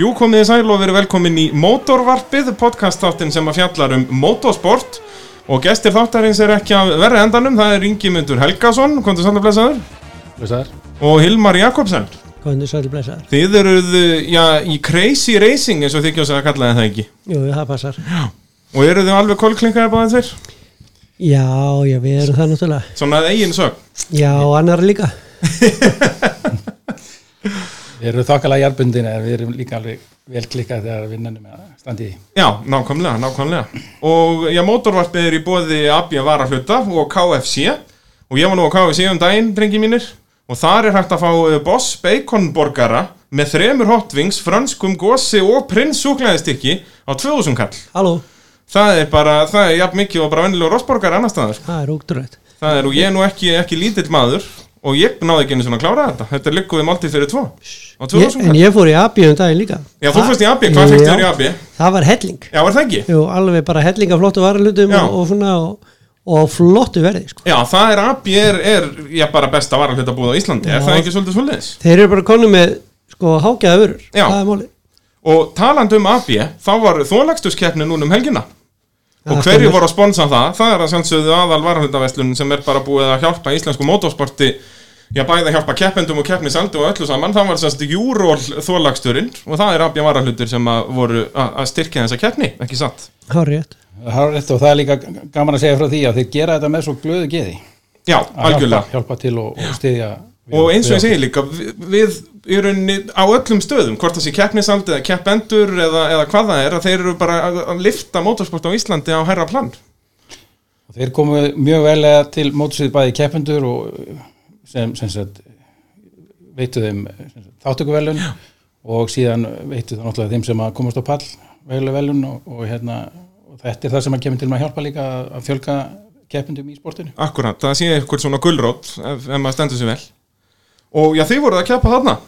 Jú, komið þið sæl og verið velkomin í Mótorvarpið, podcasttáttinn sem að fjallar um motorsport og gestir þáttarins er ekki af verri endanum, það er Ingimundur Helgason, kom til blessaður, Blessaður. og Hilmar Jakobsen. Góðinu sæli blessaður. Þið eruð, uh, já, í crazy racing eins og þið kjósið að kalla það ekki Jú, það passar. og eruð þið alveg kolklinkaði báðið þeir, Já, já, við erum það náttúrulega. svona að eigin sög. Já, og annar líka. Við erum þokkalega jarbundin en við erum líka alveg vel klikkað þegar við nennum að standa í því. Já, nákvæmlega, nákvæmlega. Og já, Mótorvarpið er í bóði Abja Varahluta og KFC og ég var nú á KFC um daginn, drengi mínir og þar er hægt að fá eh, Boss Baconborgara með þremur hotwings, franskum gósi og prins súklaðistykki á 2000 kall. Halló, Það er bara, það er jafn mikið og bara vennilegur rossborgar annar staðar. sko. það er ógdröð. Það er, og ég er nú ekki, ekki lítill maður og ég náði ekki einu svona að klára þetta. Þetta er lykkuðið máltið fyrir tvo á 2000 kall. En ég fór í AB um daginn líka. Já, þú Það- fyrst í AB, hvað fyrst Já, þér í AB? Það var helling. Já, er það ekki? Jú, alveg bara helling af flottu varlutum Já. og, og svona og, og flottu verði, sko. Já, það er AB er, er já, bara besta varalhutabúð á Íslandi, er Já. það ekki svolítið svolítið? Þeir eru bara konu með, sko, hágæða vörur. Já. Það er mólið. Og talandi um AB, þá var þólagstuskeppni núna um helgina og Það hverju kemur. voru að sponsa það? Það er að sjálfsögðu aðal varalhutaveslun sem er bara búið að hjálpa íslensku mótorsporti já, bæði að hjálpa keppendum og keppnisaldi og öllu saman, það var sérst júról þólagsturinn og það er AB varalhutur sem að voru að að styrkja þessa keppni, ekki satt? Hárið. Það er rétt og það er líka gaman að segja frá því að þeir gera þetta með svo glöðu geði. Já, Að algjörlega. Hjálpa, hjálpa til og, og styðja. við- og eins og ég við- segi líka við- við í rauninni á öllum stöðum hvort það sé keppnisald eða keppendur eða, eða hvað það er að þeir eru bara að, að lifta motorsport á Íslandi á herra plan og Þeir komu mjög vel til mótsvið bæði keppendur og sem, sem sagt, veitu þeim sem sagt, þáttökuvelun og síðan veitu það náttúrulega þeim sem að komast á pall veglega velun og, og hérna og þetta er það sem að kemur til með að hjálpa líka að- að fjölga keppendum í sportinu. Akkurat, það sé eitthvað svona gullrótt ef, ef maður stendur sér vel og já, þið voruð að keppa þarna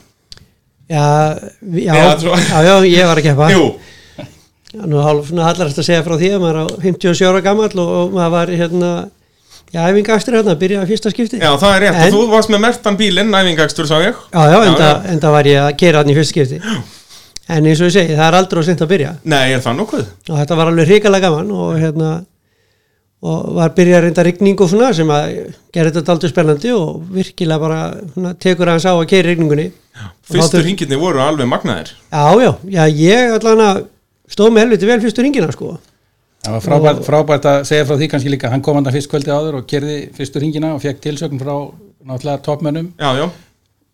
Já, vi- já, Já, já, svo- já, ég var að keppa. Jú, Já, nú er hálf svona hallarast að segja frá því að maður er á 57 ára gammal og, og maður var hérna í æfinga aftur hérna, byrjaði fyrsta skipti. já það er rétt En- og þú varst með mertan bílinn, æfingakstur sá ég Já, já, enda, já. enda var ég að gera hann í fyrsta skipti. En eins og ég segi, það er aldrei og sent að byrja. Nei, er það nokkuð? Og þetta var alveg hrikalega gaman og hérna og var byrjað að reynda rigning og svona sem að gera þetta aldrei spennandi og virkilega bara svona, tekur aðeins á að keira rigningunni. Og þá Fyrstu þurf- hringinni voru alveg magnaðir Já, já, já, ég allan að stóð með helviti vel fyrstu ringina sko. Það var frábært, frábært að segja frá því kannski líka hann kom hann fyrst kvöldi áður og kerði fyrstu ringina og fekk tilsögn frá náttúrulega toppmönnum Já, já,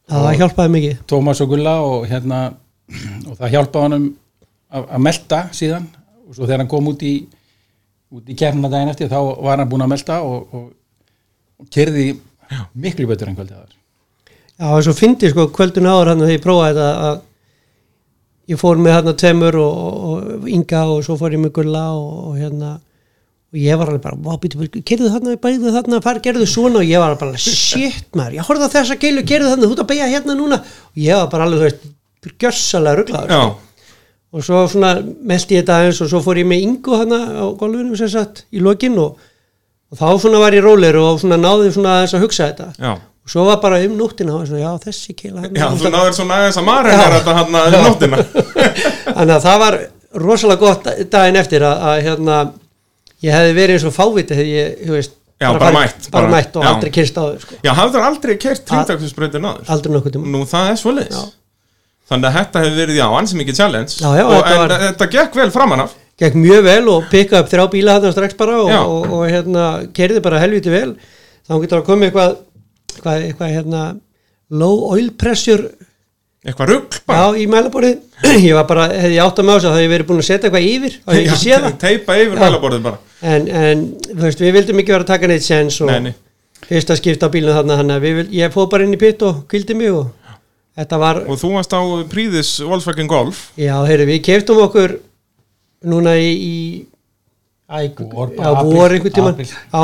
Það hjálpaði mikið. Tómas og Gulla og hérna og það hjálpaði honum að, að melta síðan og svo þegar hann kom út í út í kefna daginn eftir þá var hann búin að melta og, og, og kerði miklu betur en kvöldi áður Já, það var svo fyndið sko kvöldun áður hann þegar ég prófaði þetta að ég fór með hérna tveimur og, og, og Inga og svo fór ég með Gulla og, og hérna og ég var alveg bara, vá, býtum, gerðu þarna, bæðu þarna, far, gerðu svona og ég var bara, shit maður, ég horfði á þessa geilu, gerðu þarna, þú ert að beigja hérna núna og ég var bara alveg, þú veist, gjörsalega rugglaður já, og svo svona meldi ég þetta aðeins og svo fór ég með Ingu hana á golfinu sem sagt í lokin og, og þá svona var ég rólegur og svona náði svona aðeins að hugsa þetta já og svo var bara um nóttina og svona, já þessi hérna. keila hann Já, hún þú þarf- náður svona aðeins að mara hér þetta hann að nóttina þannig að það var rosalega gott daginn eftir að, að hérna, ég hefði verið eins og fáviti hefði ég, þú veist, Já, bara farið- mætt, bara, bara- mætt og já. aldrei kyrst á þau sko. Já, hafður aldrei kert hringdagsbreytin áður? aldrei nokkuð tíma Nú það er svoleiðis Þannig að þetta hefur verið já, ansið mikið challenge Já, já, og, þetta En var- þetta gekk vel framan af gekk mjög vel og pikka upp þrjá bíla þarna strax bara og, Já. og, og hérna, kerði bara helviti vel þá getur að koma eitthvað eitthvað, eitthvað hérna, low oil pressure Eitthvað rugg bara já, í mælaborðið ég var bara, hefði ég átt að með á þessu þá hefði ég verið búin að setja eitthvað yfir og ég ekki séð það Teipa yfir Já. mælaborðið bara en, en þú veist, við vildum ekki vera að taka neitt sens og Nei, nei. fyrst að skipta á bílunum þarna þannig að við vil, ég fóð bara inn í pitt og kvildi mig og þetta var, Og þú varst á príðis Volkswagen Golf já, heyrðu, við keftum okkur núna í, í æ, Vor, já, bara vor apríl, einhvern tímann apríl. já,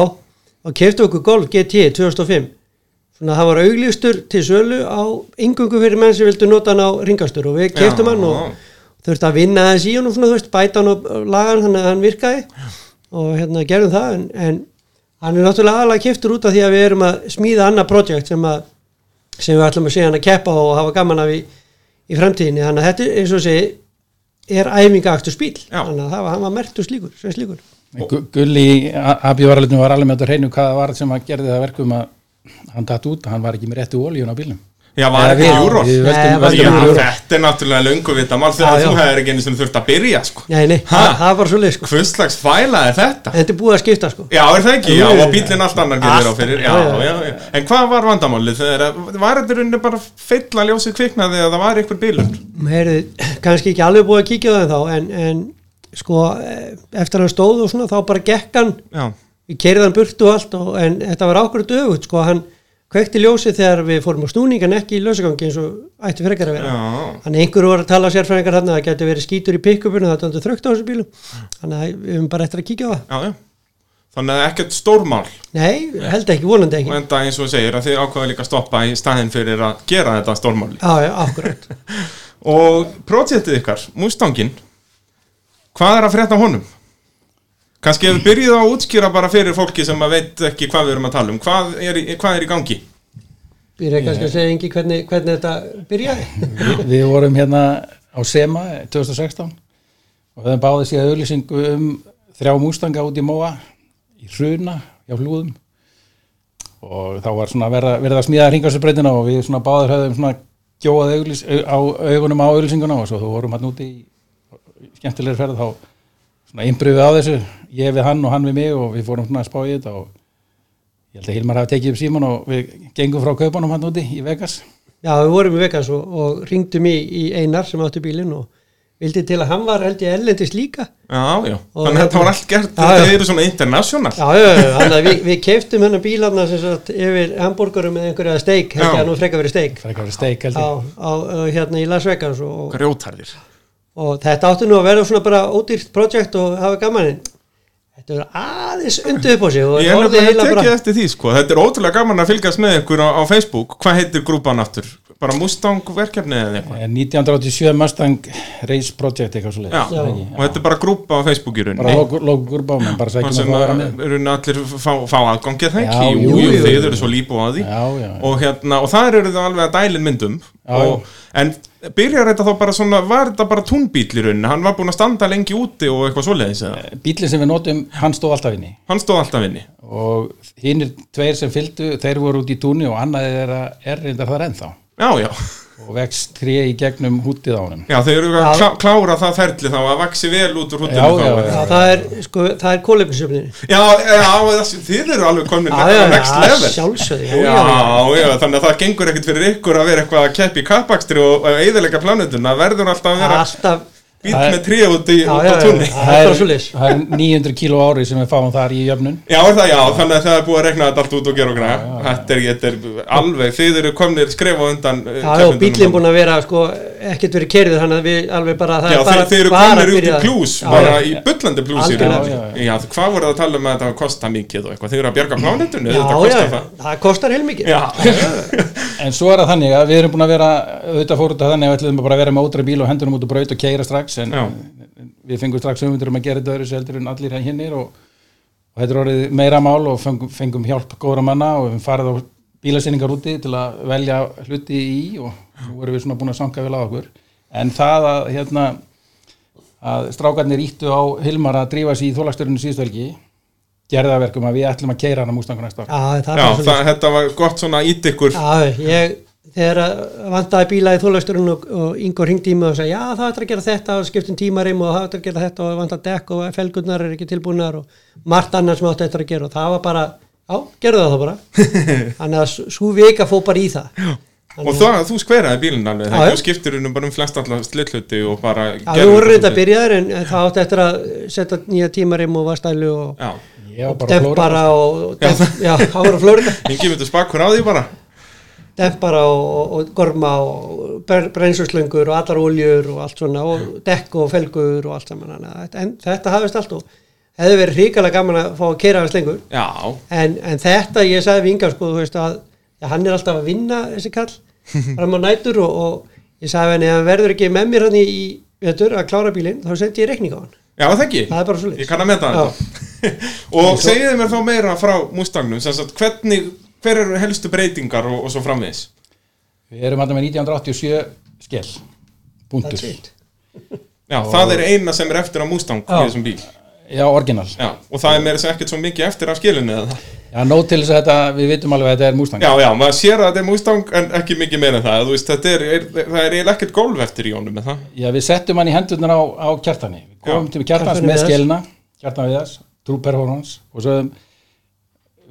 og keftum okkur Golf GT 2005 svona það var auglistur til sölu á yngungu fyrir menn sem vildu nota hann á ringastur og við keftum Já. hann og þurfti að vinna þess í hann og svona, þú veist, bæta hann og laga hann þannig að hann virkaði og hérna gerðum það en, en hann er náttúrulega aðalega keftur út af því að við erum að smíða annað projekt sem, að, sem við ætlum að segja hann að keppa á og hafa gaman af í, í framtíðinni þannig að þetta er, eins og segi er æfinga aftur spíl Já. þannig að það var, hann var mertur slíkur, sveins slíkur En Gu- Gulli í abjövaralitinu var alveg með þetta hreinu hvað það var sem að gerði það verkum að hann datt út, hann var ekki með réttu ólíun á bílnum. Já, var ekki við- júról við Nei, veltum- var veltum ekki Já, í Júró. þetta er náttúrulega löngu vita mál þegar Já, já. þú hefur ekki einu sem þurft að byrja sko. nei, nei, Ha? það, það var svo leið sko. Hvers slags fæla er þetta? þetta er búið að skipta sko Já, er það ekki? Já, Jú, jú, og jú. bílinn allt annar getur á Allt fyrir já, annar, já, já, já, En hvað var vandamálið? Þegar, að- var þetta runni bara feilla ljósið kviknaði að það var einhver bílur? Mm. Heyri, kannski ekki alveg búið að kíkja á það þá en, en sko eh, eftir að hann stóð og svona þá bara gekk hann Já, við keirði hann burt og allt og, en þetta var ákvörðu dögut sko hann kveikti ljósið þegar við fórum á snúning en ekki í lösagangi eins og ætti frekar að vera já, Þannig einhverju var að tala sérfræðingar þarna að það geti verið skítur í pick-upinu það er aldrei þrögt á þessu bílu þannig að við höfum bara eftir að kíkja á það já, já. Þannig að ekkert stórmál Nei, held ekki, vonandi og ekki enda eins og þú segir að þið ákvaðu líka að stoppa í staðin fyrir að gera þetta stórmáli Já, já, akkurat og projektið ykkar, Mustangin hvað er að frétta af honum? kannski ef við byrjuð á að útskýra bara fyrir fólki sem að veit ekki hvað við erum að tala um hvað er, í- hvað er í gangi? Býr ég kannski að segja engi hvernig, hvernig þetta byrjaði Við, við vorum hérna á SEMA 2016 og höfum báðið síðan auðlýsingu um þrjá mústanga út í Móa í Hruna hjá Hlúðum og þá var svona verið, verið að smíða ringarsbreytina og við svona báðir höfum svona gjóað auglýs, au, á augunum á auðlýsinguna og svo þú vorum hann úti í, í skemmtilegri ferð þá svona innbröfið á þessu ég við hann og hann við mig og við fórum svona að spá í þetta og ég held að Hilmar hafi tekið upp síman og við gengum frá kaupanum hann úti í Vegas Já, við vorum í Vegas og, og ringdum í, í Einar sem átti bílinn og vildi til að hann var held ég ellendis líka já, já, Og hérna- þannig að þetta var allt gert Já, þetta já. eru svona international Já, já, já, já, þannig að við, við keiftum hennar bílarna sem sagt yfir hambúrgurum með einhverja steik, held ég Já. að nú frekar verið steik frekar verið steik held á, ég á, á, hérna í Las Vegas og, og grjótarðir og þetta átti nú að vera svona bara ódýrt projekt og hafa gaman en þetta verður aðeins undir upp á sig og ég er nefnilega orðið eiginlega tekið bara- eftir því sko þetta er ótrúlega gaman að fylgjast með ykkur á, á Facebook hvað heitir grúpan aftur? bara Mustang verkefni eða eitthvað? Eh, 1987 Mustang Race Project eitthvað svo Já, Já. og þetta er bara grúpa á Facebook í bara rauninni lokur lókur bámen bara þar sækjum að sem fá að vera að með rauninni allir fá, fá aðgangið það Já, ekki, jú, jú, jú, jú, þeir jú. eru svo lípu á því já, já, og hérna, og þar eru það alveg að dælin myndum Já, og, en byrjar þetta þá bara svona, var þetta bara túnbíll í rauninni, hann var búin að standa lengi úti og eitthvað svoleiðis eða, bílinn sem við notum, hann stóð alltaf inni hann stóð alltaf inni og hinnir tveir sem fylgdu þeir voru út í túnni og annað er að er reyndar þar ennþá já, já, og vex tré í gegnum hútið á honum já, þau eru að Já. klá, klára það ferli þá að vaxi vel út úr húttinu Já, þá já, já, Já, það er, sko, það er kólefnisjöfnin já, já, þið eru alveg komin next level sjálfsögði já, Já, já, þannig að það gengur ekkert fyrir ykkur að vera eitthvað að keppi í kappakstri og eyðilega planetuna, verður alltaf að já, vera alltaf bíl Það er- með trí út, í, Ah, Já, út á já, já. túnni Það er bara svoleiðis. það er 900 kíló á ári sem við fáum þar í jöfnun Já, er það, já, þannig að það er búið að rekna þetta allt út og gera og græða Þetta er, þetta er alveg, þið eru komnir skref á undan eh, Já, og bílinn búin að vera, sko, ekkert verið kerður þannig að við alveg bara, Já, það er þeir, bara þeir eru bara komnir út í byrjað. plús, Já, bara já. í bullandi plús í Algjörlega. rauninni já, Já, hvað voru það að tala um að þetta kosta mikið og eitthvað, þið eru að bjarga plánetunni, Já, þetta já, kostar já, það það kostar heilmikið Já, En svo er það þannig að við erum búin að vera auðvitað fór þetta þannig að við ætlum bara að vera með ótra bíl og hendunum út og braut og keira strax en Já. við fengum strax umvindur um að gera þetta öðru heldur en allir hinnir og, og þetta er orðið meira mál og fengum, fengum hjálp góðra manna og við höfum farið á bílasýningar úti til að velja hluti í og nú erum við svona búin að sanga vel á okkur en það að hérna að strákarnir íttu á Hilmar að drífa sér í þólagsturinu síðustölgi gerða verkum að við ætlum að keira hana mústangur næsta ár. Já, það er já bara svo það, þetta var gott svona ít ykkur Já, ég, þegar að vantaði bíla í þólausturinn og, og Ingo ringdi í mig og sagði já það ætlar að gera þetta og skiptum tímarim og það ætlar að gera þetta og vantaði dekk og felgurnar er ekki tilbúinar og margt annars sem átti eftir að gera og það var bara, já, gerðu það þá bara þannig að sú- sú vika fór bara í það Og það, þú skveraði bílinn alveg, Já, það já. og skiptir húnum bara um flest allar slutluti og bara Já, við vorum reynda að svolítið. byrja þér en en það átti eftir að setja nýja tímarim og vastælu og Já, Ég var bara að flóra dempara og, og demp, já, það voru flórið Ingi myndu spakkur á því bara dempara og, og, og gorma og ber- brennsurslöngur og allar oljur og allt svona og dekk og felgur og allt saman Þannig að þetta, en þetta hafist allt og hefði verið hrikalega gaman að fá að keira hans lengur Já, en, en þetta ég sagði við Inga sko þú veist að já, hann er alltaf að vinna þessi kall fram á nætur og, og ég sagði við henni að hann verður ekki með mér hann í í vetur að klára bílinn þá sendi ég reikning á hann já það ekki Það er bara svoleiðis. Ég kann að meta Já. það Og segiði mér þá meira frá Mustangnum sem sagt, hvernig, hver eru helstu breytingar og, og svo framvegis Við erum alltaf með 1987 skell Búndur. That's it. Já, það er eina sem er eftir á Mustang í Já. þessum bíl Já, orginal. Já, og það er meira sem ekkert svo mikið eftir af skilinu eða það Já, nóg til þess að þetta, við vitum alveg að þetta er Mustang. Já, já, maður sér að þetta er Mustang en ekki mikið meira en það Þú veist, þetta er, er, það er eiginlega ekkert golf eftir í honum með það Já, við settum hann í hendurnar á, á kjartani. Við komum Já. til kjartans Kjartan með Viðars. skélina, kjartan við þess, trúper horons og svo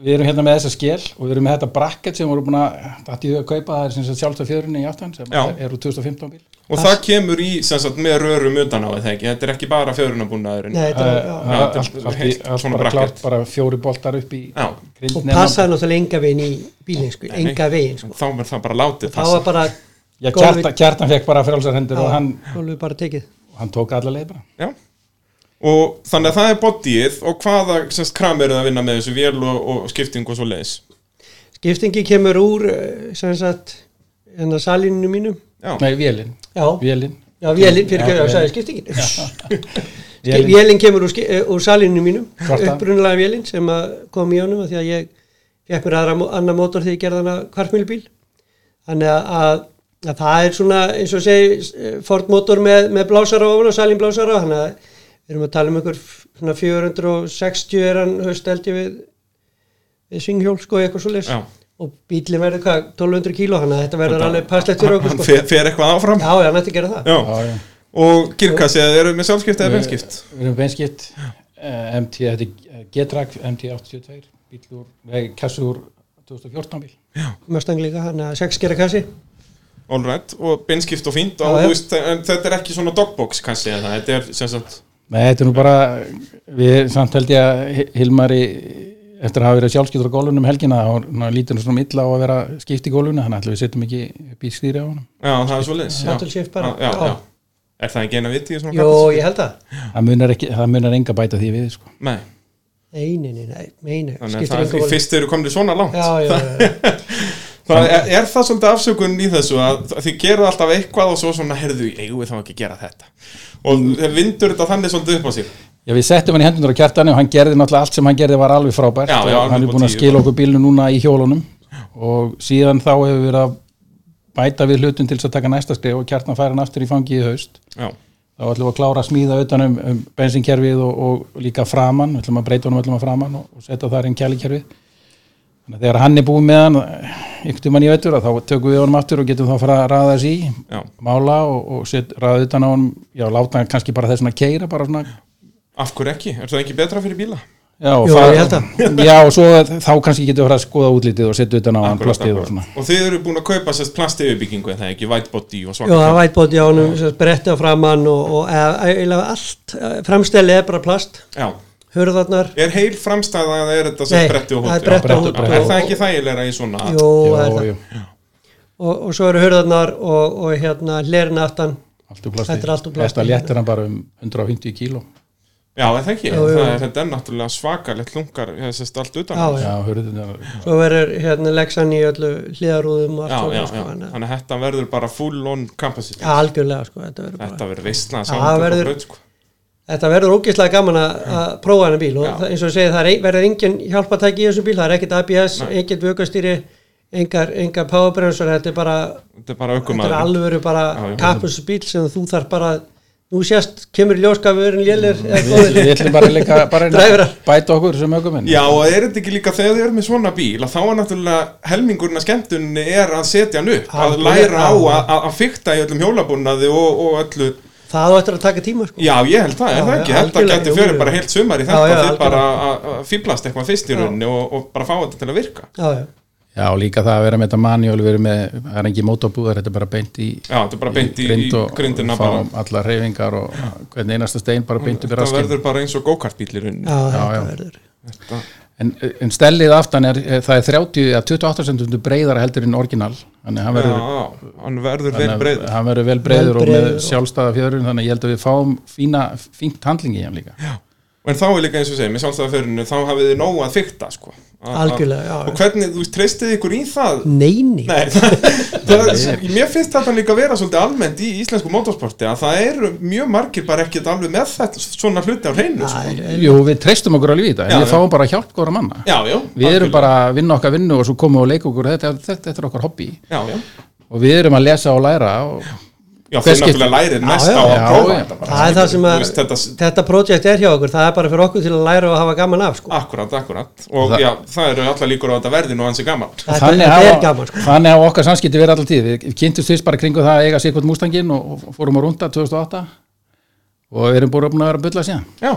við erum hérna með þessa skél og við erum með þetta bracket sem voru búin að dætti þau að kaupa, það er sem sagt sjálfstöð fjöðrunni í aftan sem Já. er úr 2015 bíl. Og það kemur í, sem sagt, með rörum utan á þetta ekki Þetta er ekki bara fjörunabúnaðurinn Nei, þetta Það er var, þetta já. er allt, allt, í- heilt allt svona bara bracket. klárt, bara fjóri boltar upp í Já. grind og passaði náttúrulega enga veginn í bílinn sko, enga veginn sko. Þá er það bara látið það passa var bara Já, Gólfið- kjartan, kjartan fekk bara frjálsar hendur og hann, gólfið bara tekið hann tók alla leið bara. Já Og þannig að það er bodyið og hvaða semst kram eru það að vinna með þessu vél og, og skipting og svo leiðis skiptingi kemur úr eh, sem sagt hennar salinu mínum Já, Nei, vélinn, já, vélinn. já vélinn fyrir Já, ekki að vélin. sagði skiptingin Vélin. vélinn kemur úr, ski- eh, úr salinu mínum Svarta. upprunalega vélinn sem að kom í honum af því að ég fekk mér aðra, annar mótor þegar ég gerði hana kvartmýlbíl þannig að, að, að það er svona eins og segi eh, Ford mótor með, með blásara ofan og salin blásara þannig að við erum að tala um einhver f- svona 460 er hann höst held ég við, við svinghjól sko eitthvað svo leys Já. og bílinn verður hvað 1200 kíló þannig að þetta verður Þetta- alveg passlegt fyrir okkur hann sko. fer, fer eitthvað áfram já, já, hann ætti að gera það Já. Já, já. Og girkassi, eru með sjálfskipt eða vinskipt? Við við erum beinskipt eh, MT, þetta er eh, G-Track MT82 bíl úr, nei, kassu úr 2014 bíl Mustang líka, hann að 6 gera kassi All right, og beinskipt og fínt Já, og já. þú veist, en þetta er ekki svona dogbox kannski eða það, þetta er sem sagt Nei, þetta er nú bara við samt held ég að Hi- Hilmari eftir að hafa verið sjálfskiptur á gólunum um helgina og hann lítur nú svona illa á að vera skipt í gólunum þannig að við setjum ekki bílstýri á hann Já, það er svo liðs Shuttle shift bara. já, já. Já. Er það ekki eina viti í svona Jó, kaffi? ég held það það munar, ekki, það munar enga bæta því við sko. Nei, Nei, nei, nei, nei, nei, nei. þannig að skiptir það engu er máli. fyrst eru komni svona langt Já, já, já, já. Það er, er það svolítið afsökun í þessu að þið gerðu alltaf eitthvað og svo svona heyrðu, eigum við þá ekki að gera þetta og þeir vindur þetta þannig svolítið upp á sig Já, við settum hann í hendunar á kjartani og hann gerði náttúrulega allt sem hann gerði var alveg frábært Já, já, og hann alveg er búin að tíu. skila okkur bílinu núna í hjólunum og síðan þá hefur við verið að bæta við hlutum til þess að taka næsta skrif og kjartan fær hann aftur í fangið í haust Já, þá ætlum við að klára að smíða utan um, um bensinkerfið og, og líka framann við ætlum að breyta honum öllum að framann og, og setja þar inn kælikerfið þannig að þegar hann er búin með hann einhvern tímann í vettur að þá tökum við honum aftur og getum þá að fara að raða þess í já, mála og, og set, raða utan á honum já, láta hann kannski bara þess að keira bara svona af hverju ekki? Er það ekki betra fyrir bíla? Já, og Jú, fara- ég held að. Já, og svo að- þá kannski getur við að fara að skoða útlitið og setja utan á hann Akkurat, plastið og akkurat. svona og þið eru búin að kaupa sérst plastiðbyggingu en það ekki, white body og Jú, það svaka er vætbóti á honum, sem sagt, bretti á framann og, og e, e, allt framstæli er bara plast, Já, hörðarnar Er heil framstæða eða er þetta sem Nei, bretti og það er hóti? bretti og hótel. Er það ekki þægilega í svona? Jú, það er Jú, það. jú, Og, og svo eru hörðarnar og, og hérna hlerin aftan allt úr plastið Þetta er allt úr plasti. Þetta léttir hann bara um 150 kíló Já, er það ekki? Jú, jú. Það er, þetta er náttúrulega svakalegt lungar, það sést allt utan. Já, á. Já, hörðu þetta svo verður hérna leksan í öllu hliðarúðum og já, allt já. svona, já. sko, þannig að- Þannig að þetta verður bara full on campus. Já, algjörlega sko, þetta verður bara Þetta verður veistna að Já, sáða verður- braut, sko. Þetta verður ógeðslega gaman að að prófa hennar bíl og Mm. Já. það- eins og ég segi það er, ein- verður engin hjálpatæki í þessum bíl, það er ekkert ABS, ekkert vökkastýri, engar, engar powerbremsur, þetta er bara, Þetta er bara þetta er aukumæður. alvöru bara Já, já. kappus bíl sem þú þarf bara, nú sést, kemur ljóskafurinn lélir eða Við góðir, við ætlum bara líka bara að Dræfrar. bæta okkur sem ökumenn Já, og er þetta ekki líka þegar þið eru með svona bíl að þá er náttúrulega helmingurinn að skemmtunni er að setja hann upp, að Algjörlega. læra á að, að, að fykta í öllum hjólabúnaði og, og öllu það á eftir að taka tíma sko. Já, ég held það, er Já, það já, ekki, held að algjörlega, geti jú, fyrir jú. bara heilt sumar í Já, þetta já, og þið algjörlega. bara að- að fýblast eitthvað fyrst í rauninni og, og bara fá þetta til að virka Já, já, Já, og líka það að vera með þetta manjól við erum með, það er engin mótabúðar þetta er bara beint í Já, þetta er bara beint í, í grind og grindina bara fáum allar reyfingar og hvernig einasta stein bara beint upp í Það raskinn verður bara eins og go-kart bíl í rauninni já, þetta já. verður. En, en stellið aftan er, er- það er 30 eða 28 cm breiðara heldur en orginal þannig að hann Já, verður hann verður vel Þannig að breið hann verður vel breiður Vel og með breiður og- sjálfstæða fjöðrun þannig að ég held að við fáum fína, fínt handlingi í hann líka En þá er líka eins og segja, með sjálfstæðaförinu þá hafið þið nóg að fykta sko. Að- að- Algjörlega, já, já. Og hvernig, þú veist, treystið ykkur í það Neini, Nei, það, það, mér finnst þetta líka að vera svolítið almennt í íslensku motorsporti að það eru mjög margir bara ekkert alveg með þetta svona hluti á hreinu sko. Jú, við treystum okkur alveg í þetta Já, en við já. fáum bara hjálp góra manna Já, já Við algjörlega. erum bara að vinna okkar vinnu og svo komum við og leika okkur þetta, þetta, þetta er okkar hobby Já, já og við erum að lesa og læra og Já, þið Hver skipti? náttúrulega lærið Já, mest já, á að já, prófa já. þetta bara. það er það sem Þú að veist, þetta, þetta projekt er hjá okkur það er bara fyrir okkur til að læra og hafa gaman af sko. akkurat, akkurat og Það- já, það eru allar líkur á að þetta verði nú hansi gaman Þetta- þannig þetta er hafa, gaman, sko. þannig hafa okkar samskipti verið alltaf tíð við kynntumst fyrst bara kringu það að eiga Sigvart Mustangin og og fórum á runda 2008 og við erum búin að vera að bulla síðan Já,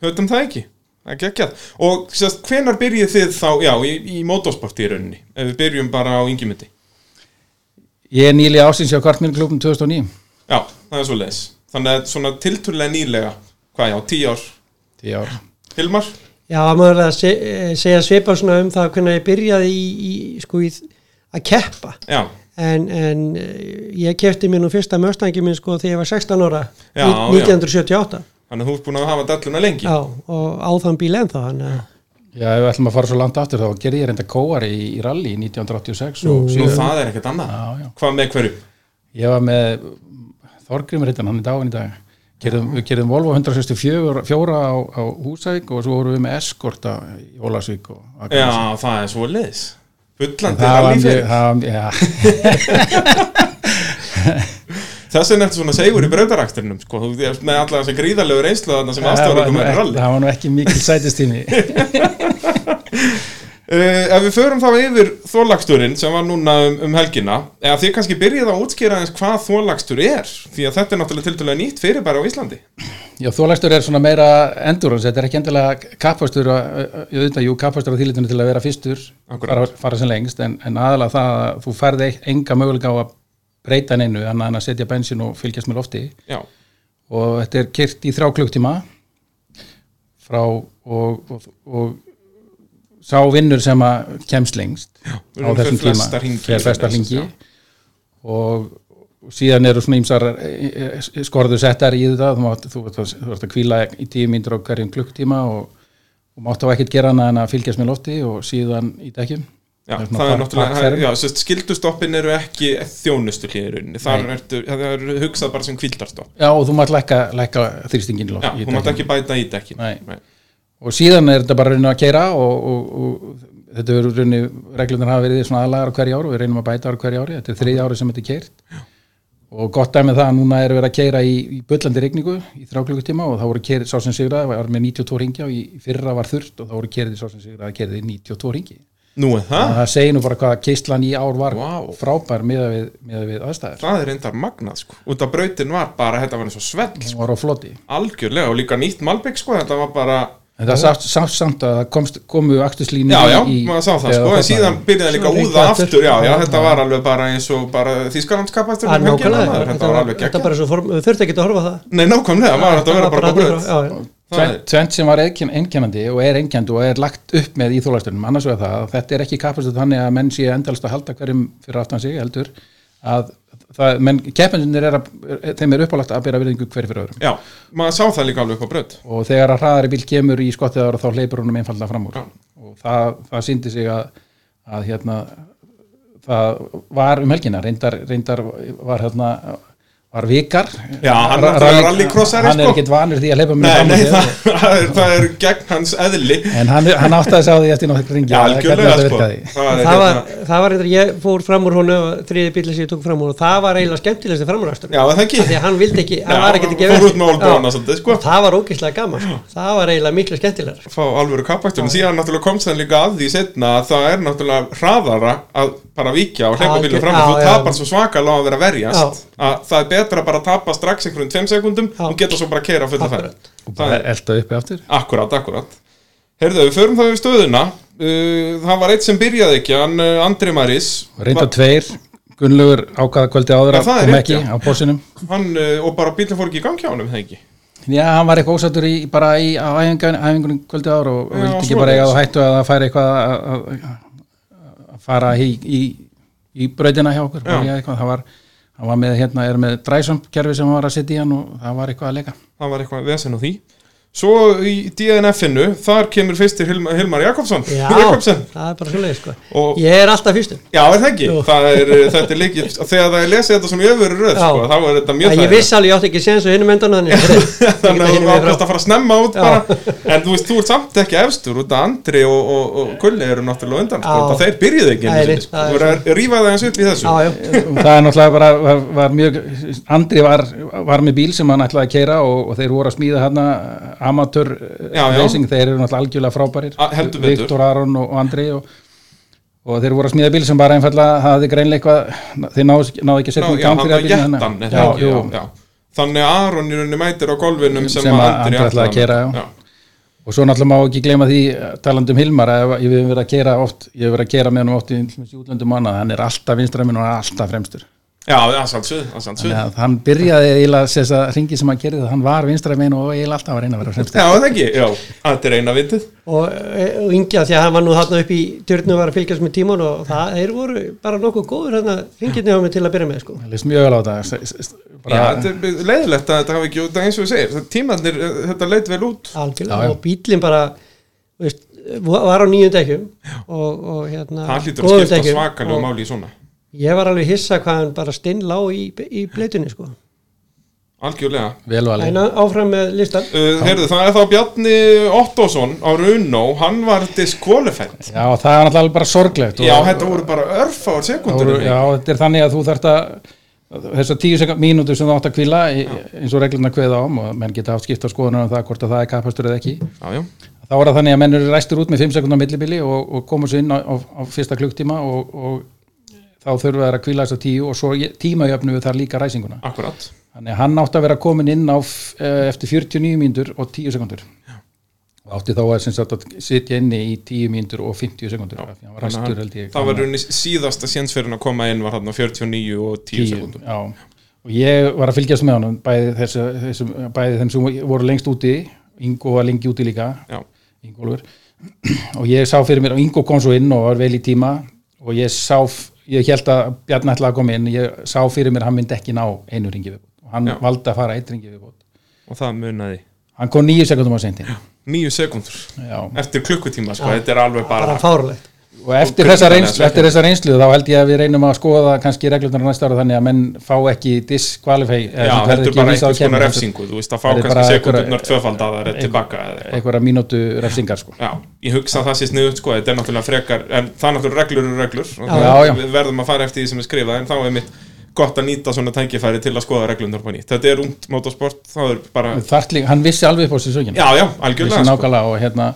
höfðum það ekki Það er geggjað Og sérst, hvenar byrjið þið þá, já, í, í motorsporti í rauninni Ef við byrjum bara á yngjumundi ég er nýli ásins hjá Kvartminn klubum 2009 Já, það er svo leis Þannig að svona tilturlega nýlega Hvað já, tíu ár tíu ár Hilmar? já, maður er að se- eh, segja svipa svona um það hvernig ég byrjaði í, í, sko, í að keppa Já, en, en eh, ég kefti mér nú fyrsta möstangi minn sko þegar ég var 16 ára Já, ní- 1978 þannig að þú ert búin að hafa dalluna lengi já, og á þann bíl ennþá hann, eh, já, ef við ætlum að fara svo langt aftur þá gerði ég reynda kóar í, í rally 1986 og Nú síðan, það er ekkert annað Já, já. Hvað með hverju? ég var með Þorgrimur hittan, hann er dáin í dag gerðum, við gerðum Volvo 164 fjóra á, á Húsavík og svo vorum við með Eskorta í Ólasvík og Já, Akranesi. það er svo leis Bullandi það var mjög rallíferð það var mjög- já. Þess vegna ertu svona segur í brautarakstrinum sko. Þú ert með allar þessi gríðarlegu reynslu þarna sem það var, aðstofar nú ykkur með ekki, rally það var nú ekki mikil sætistími Uh, ef við förum þá yfir þólagsturinn sem var núna um, um helgina eða þið kannski byrjið að útskýra eins hvað þólagstur er því að þetta er náttúrulega tildulega nýtt fyrirbæri á Íslandi Já, þólagstur er svona meira endurans þetta er ekki endilega kappastur ég auðvitað, jú, kappastur á þýlitinu til að vera fyrstur Akkúrat. fara, fara sem lengst en, en aðalega það að þú færði enga mögulega á að breyta neinu annað en að setja bensin og fylgjast með lofti Já, og þetta er kyrt í þrjá klukktíma frá og, og, og sá vinnur sem að kemst lengst já, við á erum þessum fyrir tíma flesta hringi fyrir flesta í þessu, hringi og og síðan eru svona ímsar skorðu settar í þetta þú, mátt, þú, þú, þú ert að kvíla í tíu mínútur á hverjum klukktíma og, og mátt á ekkert gera hana en að fylgjast með lofti og síðan í dekkjum já er svona það er park- náttúrulega parkferð. það- já, sérst, skildustoppin eru ekki þjónustu hlýðurinn það Nei. eru hugsað bara sem kvildarstopp Já, og þú mátt lækka, lækka þrýstingin í loft Já, í hún mátt dekkjum. ekki bæta í dekkin Nei. og síðan er þetta bara að reyna að keira og, og, og þetta eru reyni reglunar hafa verið svona aðlagar á hverju ári og við reynum að bæta á hverju ári, þetta er þriðja ári sem þetta er keirt og gott dæmið það að núna er verið að keira í, í bullandi regningu í þráklukkutíma og þá voru keirið sá sem sigraði var með 92 ringi og í í fyrra var þurft og þá voru keirið sá sem sigraði keirið í 92 ringi Nú er það, það segir nú bara hvað keislan í ár var Vá. frábær meða við, meða við aðstæður það er reyndar magnað sko. út af brautin var bara, þetta var eins og svell sko. hún var á floti algjörlega og líka nýtt malbygg sko. þetta var bara, en það sátt samt, samt að það komst, komu aktuslínu já já, maður sá það sko. en síðan byrjaði líka Svona úða hringi aftur já, já, aftur. þetta var alveg bara eins og bara þýskalandskapastur að nákvæmlega þetta var alveg þetta geggjað bara svo form, við þurftum ekki að horfa á það Nei, nákvæmlega, maður hægt að vera bara Það á var bröð bara þarna frá- já, já. Það er- Tvent sem var einkennandi og er einkennandi og er lagt upp með í þólastunum annars vegar það að þetta er ekki kapastuð þannig að menn sé endalst að halda hverjum fyrir aftan sig heldur að það, menn keppendunir er að, er- þeim er uppálagt að byrja virðingu hver fyrir öðrum Já, maður sá það líka alveg upp á bröð og þegar að hraðari bíl kemur í skottiðar þá hleypur honum einfallega fram Já. úr og það, það síndi sig að, að hérna, það var um helgina reyndar, reyndar var hérna var vikar Já, hann er Rally- rallycrossari, hann er sko. ekkit vanur því að hleypa Nei, fram úr nei, sér. það, það, er, það er gegn hans eðli En hann, hann áttaði sig á því eftir nokkur ringi Já, algjörlega sko er það var, hérna- það var eitthvað, ég fór fram úr honu þriði bíl sem ég tók fram úr og það var eiginlega skemmtilegst framúrastur, Já, það ekki því að hann vildi ekki hann Já, var ekkert að gefa fór eftir. út með olnbogana Já. svolítið, sko. Og það var ógeðslega gaman, sko. það var eiginlega miklu sko. skemmtilegar Fá alvöru kappaktur En síðan náttúrulega komst hann líka að því setna að það er náttúrulega hraðara að bara víkja og hleypa Algjör- bílum fram og já, þú já. tapar svo svakalega á að vera að verjast Já. að það er betra bara að tapa strax einhverjum tveim sekundum Já. og geta svo bara að keira fulla Akkurat. ferð Og Það bara er- elda uppi aftur Akkurat, akkurat Herðu, við förum þá við stöðuna uh, Það var eitt sem byrjaði ekki, hann uh, Andri Maris Og reynda tveir, Gunnlaugur ákvaða kvöldi áður Já, að það er kom rétt, ekki já. á bósinum hann, uh, og bara bílinn fór ekki í gangi á hann um það ekki Já, hann var eitthvað ósattur í, bara í á æfingun- æfingunum kvöldi áður og, og Já, vildi ekki svoleiðis. bara eiga á hættu að það færi eitthvað að, að, að fara í, í, í brautina hjá okkur bara í eitthvað, það var hann var með hérna, er með dræsumkerfi sem hann var að setja í hann og það var eitthvað að leika það var eitthvað vesen á því Svo í DNF-inu, þar kemur fyrstir Hilmar, Hilmar Jakobsson Já, Jakobsen. það er bara svoleið sko Og- Ég er alltaf fyrstur Já, er það ekki? Jú. Það er, uh, þetta er líkið, þegar það er lesið þetta svona í öfuru röð, Já. sko, þá er þetta mjög Að Ég viss alveg, ég átti ekki séns á hinum endan Þannig að Þannig að hinum þú megin frá. ákvæmst að fara snemma út Já. bara En þú veist, þú ert samt ekki efstur út að Andri og, og, og Gulli eru náttúrulega undan sko, Já. út að Þeir byrjuðu ekki Nei, einu sinni, sko. nei, það er Þú verður að rífa það eins upp í þessu Já, já, Og það er náttúrulega bara var, var mjög, Andri var, var með bíl sem hann ætlaði að keira og, og þeir voru að smíða hann amatör eh, Já, já. racing, þeir eru náttúrulega algjörlega frábærir A- heldur betur. Viktor Aron og, og Andri og, og þeir voru að smíða bíl sem bara einfallega hafði greinlega eitthvað, þeir náðu, ekki- náðu ekki Ná, að setja um í já, hann gang fyrir að var bílinn hérna. jættan þannig að- já, já, hérna. já, já. Þannig að Aron í rauninni mætir á golfinum sem, Sem að að Andri Andri ætlaði að ætlaði keyra, já. og svo náttúrulega má ekki gleyma því eh, talandi um Hilmar að ef- ég hef verið að keira oft ég hef verið að keira með hann oft í til dæmis í útlöndum og annað, hann er alltaf vinstra minn og hann er alltaf fremstur Já, það er sannsvið, það er sannsvið Þannig að hann byrjaði eiginlega þess að ringi sem hann gerði það, hann var vinstra megin og eiginlega alltaf að reyna að vera fremst Já, það ekki, já, þetta er eina vitið og, e, og yngja því að hann var nú þarna upp í tjörnum var að fylgjast með tíman og það þeir voru bara nokkuð góður hérna ringirni á mig til að byrja með sko Hann leist mjög vel á þetta s- s- Já, bara, þetta er leiðilegt að þetta hafi ekki út eins og við segir þetta- Tímarnir, eh, þetta leit vel út algjörlega Já, já. og bílinn bara þú veist, var á nýjum dekkjum og, og hérna Það hlýtur að góðum skipta dekkjum svakalega og máli í svona ég var alveg hissa hvað hann bara stinn lá í, í bleitunni sko Algjörlega vel valið en áfram með listan Uh, heyrðu, það er þá Bjarni Ottosson á Runó, hann var disqualified Já, og það er náttúrulega bara sorglegt og- Já, þetta voru bara örfáar og- sekundur Já, þetta er þannig að þú þarft að þessar tíu sekund- mínútur sem þú átt að kvila eins og reglurna kveða ám og menn geta haft skipta skoðunar um það hvort að það er kapastur eða ekki Já, já, þá var það þannig að menn eru ræstur út með 5 sekundar millibili og, og komu svo inn á, á, á fyrsta klukktíma og, og þá þurfa þær að kvíla þess að tíu og svo ég- tímajöfnu við þar líka ræsinguna akkurat þannig að hann átti að vera komin inn á f- eh, eftir 49 mínútur og 10 sekundur og átti þá að, sem sagt, að sitja inni í 10 mínútur og 50 sekundur af því að hann var Þannig ræstur að held ég Það var runni síðasta sénsferðin að koma inn var hann á 49 og 10 sekundum já. og ég var að fylgjast með honum bæði, þessu, þessum, bæði þeim sem voru lengst úti Ingo var lengi úti líka Já, Ingólfur og ég sá fyrir mér og Ingo kom svo inn og var vel í tíma og ég sá, f- ég held að Bjarni ætlaði að koma inn, ég sá fyrir mér að hann myndi ekki ná einu ringi viðbót og hann Já. valdi að fara einn ringi viðbót og það munaði hann kom nýju sekundum á seintin Níu sekundur Já. Eftir klukkutíma, sko, þetta er alveg bara bara fárlegt og eftir Og þessa, Kristján reynslu, er eftir þessa reynslu þá held ég að við reynum að skoða kannski reglurnar á næsta ára þannig að menn fá ekki disqualify eða Já, sem þetta verður er ekki bara vísað á einhvers konar keppni, refsingu Þú veist að fá þetta er kannski bara sekundunar einhverja- tvöfaldaðar tilbaka eða heldur eitthvað einhverja mínútu refsingar sko. Já, ég hugsa að það sé sniðut sko, þetta er náttúrulega frekar, en það er náttúrulega reglur eru reglur og Já, það- já. við verðum að fara eftir því sem er skrifað en þá er mitt gott að nýta svona tækifæri til að skoða reglunar på nýtt. Þetta er ungt motorsport, það er bara, Þartli, hann vissi alveg upp á sér sögin já, já, vissi algjörlega sko. nákvæmlega og, hérna,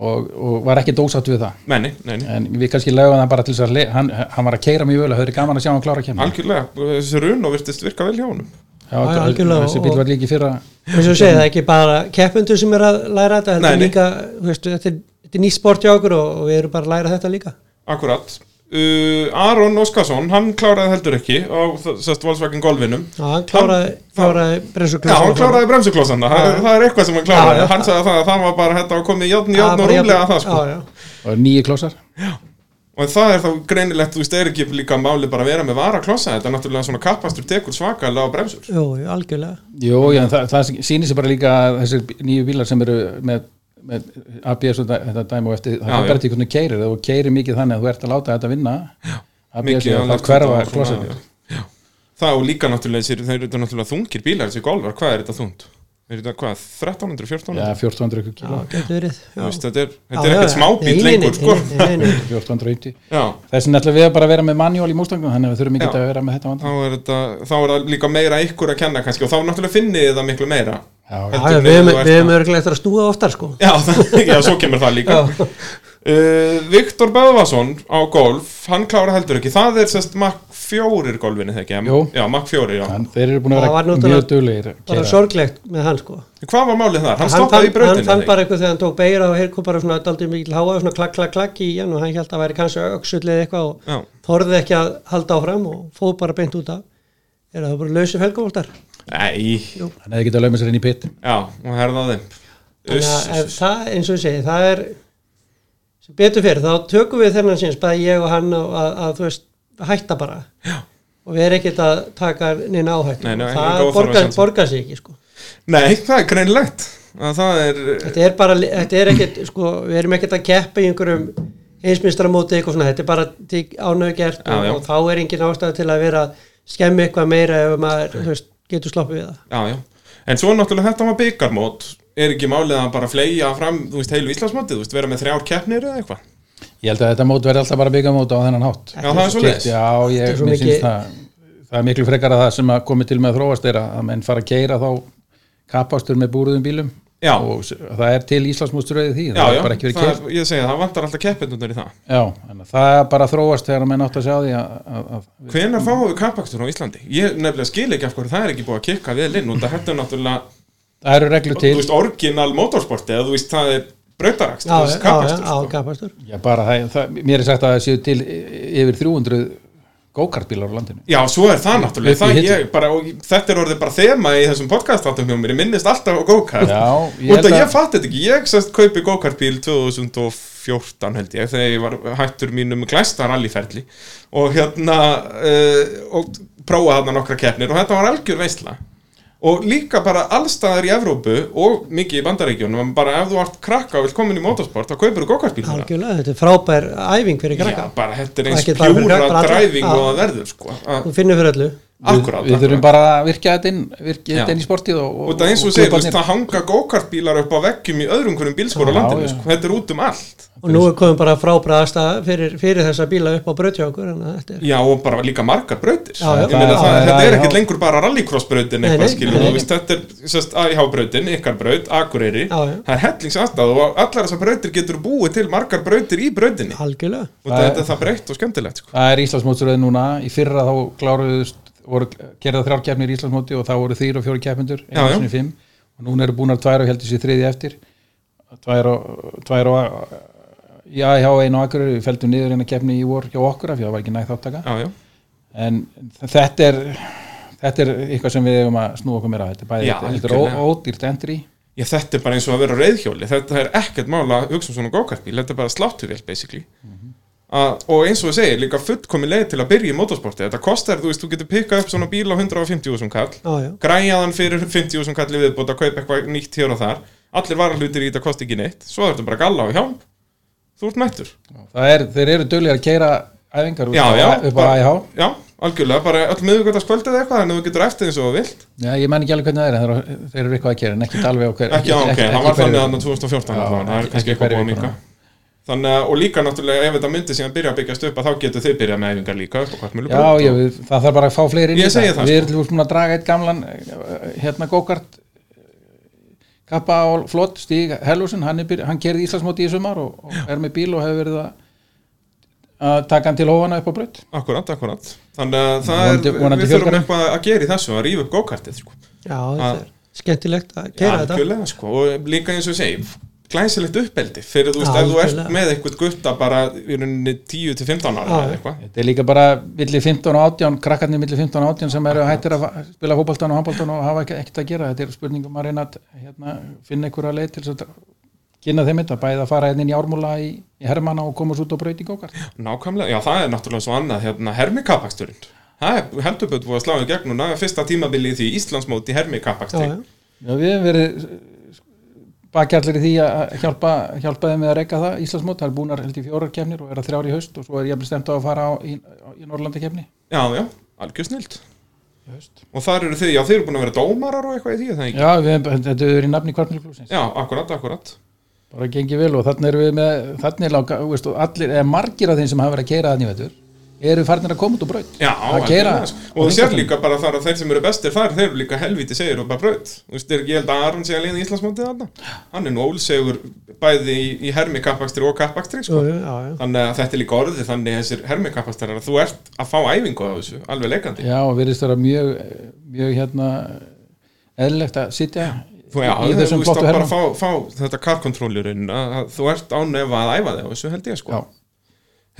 og, og var ekki dósatt við það Menni, neini, en við kannski lögum það bara til þess að le- hann, hann var að keira mjög vel og það er gaman að sjá hann klára að kemna algjörlega, þessi run og virtist virka vel hjá honum. Já, já, algjörlega. þessi bíl var líki fyrra eins og ég segi það er ekki bara keppendur sem er að læra þetta þetta Nei, nei. er líka, þú veist, þetta er, þetta er nýtt sport hjá okkur og, og við erum bara að læra þetta líka Akkurat. Uh, Aron Óskarsson, hann kláraði heldur ekki á sérst Volkswagen golfinum. Já, hann kláraði, kláraði Já, bremsuklösa hann kláraði bremsuklossana, það, er- það er eitthvað sem hann Já, kláraði, já. hann sagði það að það var bara þetta að komið játn, játn og rúmlega það sko. já, já. og nýju klósar og það er þá greinilegt, þú veist, er ekki líka máli bara að vera með varaklossa, þetta er náttúrulega svona kappastur tekur svakalega á bremsur Jú, jú, algjörlega Jú, já, en það, það sýnir sér bara líka að þessir bí- nýju bílar sem eru með, með ABS og þetta- þetta dæmi og eftir það Já, er já. bara til hvernig þú keirir og keirir mikið þannig að þú ert að láta þetta vinna ABS Mikið og annars þá hverfa þetta var svona- klósarnir Já. það og líka náttúrulega þessir, þeir eru náttúrulega þungir bílar þessi golfar, hvað er þetta þungt? Er þetta hvað, 1300, 1400? Já, 1400 Já, kíló, getur verið já. Þú veist, þetta er, Já, þetta er já, ekkert já. smábíl Nei, nei, lengur nei, sko. nei, nei, nei. 1480 Já, Þessin ætlum við að bara vera með manuál í mústangum þannig að við þurfum ekki Já. að vera með þetta þá vandum er þetta, þá er það líka meira ykkur að kenna kannski og þá náttúrulega finnið þið það miklu meira Já, Já, Heldur já, en þú Við hefum- ert við að- hefum örglega eftir að snúa oftar sko Já, það, já, svo kemur það líka uh, Viktor Böðvason á golf, hann klára heldur ekki það er sérst Mach 4 golfinu þegar ekki Jú. Já, Mach 4, já þannig þeir eru búin að Það var vera náttúrulega- mjög duglegir að Bara keira. sorglegt með hann sko Hvað var málið þar? Hann, Hann stoppaði fann- í brautinu Hann fann þegar bara eitthvað þegar hann tók beira og hér kom bara svona daldið mikil háa og svona klakk, klakk, klakk í hann og hann held að væri kannski öksull eða eitthvað Já. og þorði ekki að halda áfram og fóð bara beint út af Er það bara lausi felgavóltar Nei, Hann hefði getað að lauma sér inn í pitt já, og herðaði Þannig Uss, að ef það, eins og ég segi, það er sem betur fyrir, þá tökum við þennan síns, bæði ég og hann að, að, að þú veist, hætta bara Já. og við erum ekkert að taka neina áhættu Nei, nei, Og enga það óþarfa borgar, sjálfsagt. borgar sig ekki sko. Nei, það er greinlegt að það er þetta er bara, þetta er ekkert sko, við erum ekkert að keppa í einhverjum einsmistramóti eitthvað svona, þetta er bara ánöðu gert Já, og, já. og þá er engin ástæða til að vera að skemmi eitthvað meira ef maður, þú veist, getur sloppið við það Já, já. En svo náttúrulega þetta var byggarmót. Er ekki málið að bara fleia fram, þú veist, heilu Íslandsmótið, þú veist, vera með þrjár keppnir eða eitthvað? Ég held að þetta mót verði alltaf bara byggamót á þennan hátt. Já, það er svo leiðis. Já, Þetta er ég svo mér mikið- syns það, það er miklu frekar að það sem að komi til með að þróast er að að menn fara að keira þá kapastur með búruðum bílum Já. og s- það er til Íslandsmótsturöðið því, Já, það já, er bara ekki verið það keirt. er- ég segi það, það vantar alltaf keppinundur í það. Já, þannig að það er bara að þróast þegar að menn átt að sjá því að, að, að Hvenær fáum við kappakstur á Íslandi? Ég nefnilega skil ekki af hverju það er ekki búið að kikka vel inn og þetta er náttúrulega, það eru reglu þú til, veist, orginal motorsporti eða þú veist, það er brautaraks, Já, þú já, veist, já, kappakstur. já, sko. kapastur já bara það, það, mér er sagt að það séu til y- yfir 300 gókartbílar á landinu. Já, svo er það náttúrulega, Upp í það hillu. ég bara, og þetta er orðið bara þema í þessum podcastáttum hjá mér, ég minnist alltaf á go-kart Já, ég Út held að að- ég fatt þetta ekki, ég sest kaupi go-kartbíl 2014 held ég, þegar ég var hættur mínum glæsta rallyferli og hérna, uh, og prófaði þarna nokkra keppnir og þetta var algjör veisla og líka bara allstaðar í Evrópu og mikið í bandaríkjunum, bara ef þú ert krakka og vill komin í motorsport, þá kaupir þú go-kartbíl hérna. algjörlega, þetta er frábær æfing fyrir krakka Já, bara þetta er eins Ekki bara fyrir pjúra krakka, bara alla. dræfing og Já. það verður sko, að, þú finnir fyrir öllu akkurát Við, við akkurát. þurfum bara að virkja þetta inn, virkja Já. þetta inn í sportið og, Og það er eins og þú segir, þú veist, klubbarnir. það hanga go-kartbílar upp á veggjum í öðrum hverjum bílskóra Já, landinu, já. sko. þetta er út um allt og nú er komin bara frábræðasta fyrir, fyrir þessa bíla upp á brautjókur en þetta er Já, og bara líka margar brautir Já, já. Ég meina Já, það, já, þetta já, er já. ekkert lengur bara rallycross brautin Nei, eitthvað nei, skilur, nei, þú nei. veist, þetta er sérst AIH brautin, ykkar braut, Akureyri Já, já. það er hellingsaðstæð og allar þessar brautir getur búið til margar brautir í brautinni algjörlega og þetta er það breytt og skemmtilegt sko. Það er Íslandsmótsröðin núna, í fyrra þá kláruðust, voru gerða þrjár keppnir í Íslandsmóti og þá voru þýr og fjóri keppnendur, Já, já. einu sinni fimm og núna eru búnar tvær og heldur sér þriði eftir tvær og, tvær og já, já, einu akkur við feldum niður einu keppni í vor hjá okkur af því það var ekki nægt þáttaka Já, já, en þetta er þetta er eitthvað sem við eigum að snúa okkur meira að þetta er bæði, Já, þetta- þetta er algjörlega. ó- ódýrt entry ég, þetta er bara eins og að vera á reiðhjóli þetta er ekkert mála að hugsa um svona go-kartbíl þetta er bara sláttuvél basically Mhm. að, og eins og þú segir, líka fullkomin leið til að byrja í motorsporti, þetta kostar, þú veist, þú getur pikkað upp svona bíl á 150.000 kall já, já, græjaðan fyrir 50.000 kalli viðbútt að kaupa eitthvað nýtt hér og þar allir varahlutir í þetta kosti ekki neitt svo þurftum bara galla á hjálp þú ert mættur það er, þeir eru dölir að keira æfingar já, já, upp á- upp á bara- æhá já, algjörlega, bara öll miðugöldaskvöldið eitthvað en þú getur eftir eins og þú vilt Já, ég menn ekki alveg hvernig það er en þeir eru- þeir eru eitthvað að gera en ekki alveg á hver ekki, ok, það var hverju- þannig að 2014 Já, allavega, það er ekki- kannski ekki eitthvað búið hverju að minka viku, þannig að, og líka náttúrulega ef þetta myndi síðan byrja að byggjast upp að þá getur þau byrjað með æfingar líka upp á hvort mjög Já, já, við, það þarf bara að fá fleiri inn í Ég segi það, sko. Við erum til dæmis búin að draga eitt gamlan eh, hérna gókart kappa á flott Stíg Hellusen, hann, er byr- hann kerði Íslandsmóti í sumar og, og er með bíl og hefur verið að, að taka hann til hófana upp á braut akkurat, akkurat þannig að það Vonandi- er, vonandi við þurfum fjölgar þeim. eitthvað að gera í þessu að rífa upp go-kartið sko. já, þetta Að- er skemmtilegt að Já, gera þetta algjörlega, sko, og líka eins og ég segi glæsilegt uppeldi, fyrir þú veist, Já, ef þú ert algjörlega. með eitthvað gutta bara í rauninni 10-15 ára Já. eða eitthvað Þetta er líka bara milli 15 og 18, krakkarnir milli 15 og 18 sem eru hættir að fa- spila fótboltan og handboltan og hafa ekki- ekkert að gera. Þetta er spurningum að reyna að hérna, finna einhverja leið til þess að kynna þeim þetta, bæði að fara hérna inn í ármúla í, í hermana og komast út og braut í gókart. Nákvæmlega, já, það er náttúrulega svo annað hérna, hermikapaksturinn Það er heldurböld búið að sláða gegn núna fyrsta tímabilið í því Íslandsmóti já, hermikapakstri já, Já, við hefum verið bakjallir í því að hjálpa, hjálpa þeim við að reyka það Íslandsmót, það er búnar held í fjórar kefnir og er að þrjár í haust og svo er ég stemt á að fara á, í, í Norrlanda kefni. Já, já, algjör snilt Og þar eru þið, já, þið eru búin að vera dómarar og eitthvað í því, er það ekki? Já, við hefum, þetta hefur verið í nafni kvartmjörglusins. Já, akkurat, akkurat bara gengið vel og þannig erum við með þannig er langa, veist, og allir, eða margir af þeim sem hafa verið að keira þannig vetur eru farnir að koma út og braut Já, að keira algjörlega, sko. og þú sér líka bara þar að þeir sem eru bestir þar, þeir eru líka helviti segir og bara braut, þú veist, er ekki ég held að Aron sé að leiða í Íslandsmótið þarna, hann er nú ólsegur bæði í, í hermi kappakstri og kappakstri, já, sko, já, já. þannig að þetta er líka orðið þannig þessir hermi kappakstrar að þú ert að fá æfingu á þessu, alveg leikandi já og virðist vera mjög mjög hérna eðlilegt að sitja Þú, já, í þú þessum veist flottu að bara herrum fá, fá þetta karkontróljurinn að að þú ert ánefa að æfa þig á þessu held ég sko. já,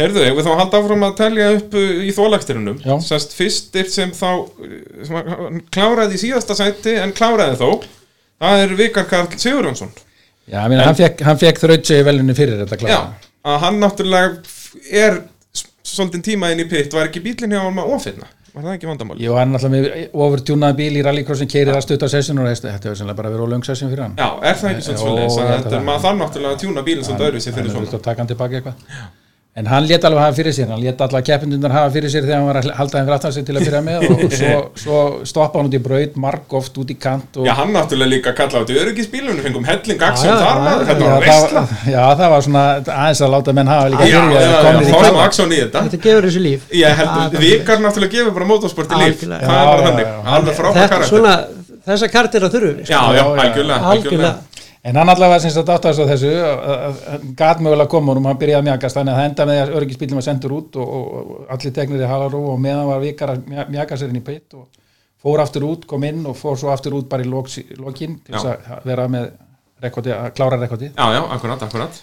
Heyrðu, ef við þá halda áfram að telja upp uh, í þólagstirunum, Já. sérst fyrstir sem þá uh, sem að- hann kláraði í síðasta sæti en kláraði þó, það er Vikar Karl Sigurjónsson. já ég meina, hann fekk, hann fekk þrautsegi velunni fyrir þetta Já, klára að hann náttúrulega f- er s- svolítinn tíma inn í pitt, var ekki bílinn hjá hann að ofirna. var það ekki vandamál? Jú, hann alltaf með ofurtjúnaði bíl í rallycrossin keirið að stutta sessin og þetta þetta hefur sennilega bara verið á löng sessin fyrir hann Já, er það ekki svona Jó, svolítið? ég held Þannig að að það- maður þarf náttúrulega að tjúna bílinn svolítið öðru sér fyrir Hann svona. vildi að taka hann tilbaka eitthvað En hann lét alveg hafa fyrir sér, hann lét alla keppindundar hafa fyrir sér þegar hann var að halda þeim fyrir aftan sér til að byrja með og svo, svo stoppa hann út í braut, marg oft út í kant og Já, hann náttúrulega líka kallaði út í öryggisbílum, við fengum helling aksjón Já, já, þar já, maður, já, þetta var Já, það- veistla. Já, það var svona aðeins að láta menn hafa Já, líka já, fyrir já, þeir já, komnir í fáum kant. aksjón í þetta. þetta gefur þessu líf Ég held, Algjörlega. vikar náttúrulega gefur bara mótorsport í líf, Algjörlega. það Já, var já, þannig, já. alveg frábæð þetta, karakter. svona, þessa kartera þurfum við sko. Já, já, Já, já. algjörlega, algjörlega. algjörlega En hann allavega sem sagt áttaðast á þessu að- að- að gat mögulega koma honum, hann byrjaði að mjagast þannig að það enda með því að öryggisbílum var sendur út og, og, og allir tegnir í halarú og meðan var vikar að mja- mjaka sér inn í peitt og fór aftur út, kom inn og fór svo aftur út bara í lok, lokin til þess Já. að vera með rekordið, að klára rekordið Já, já, akkurat, akkurat.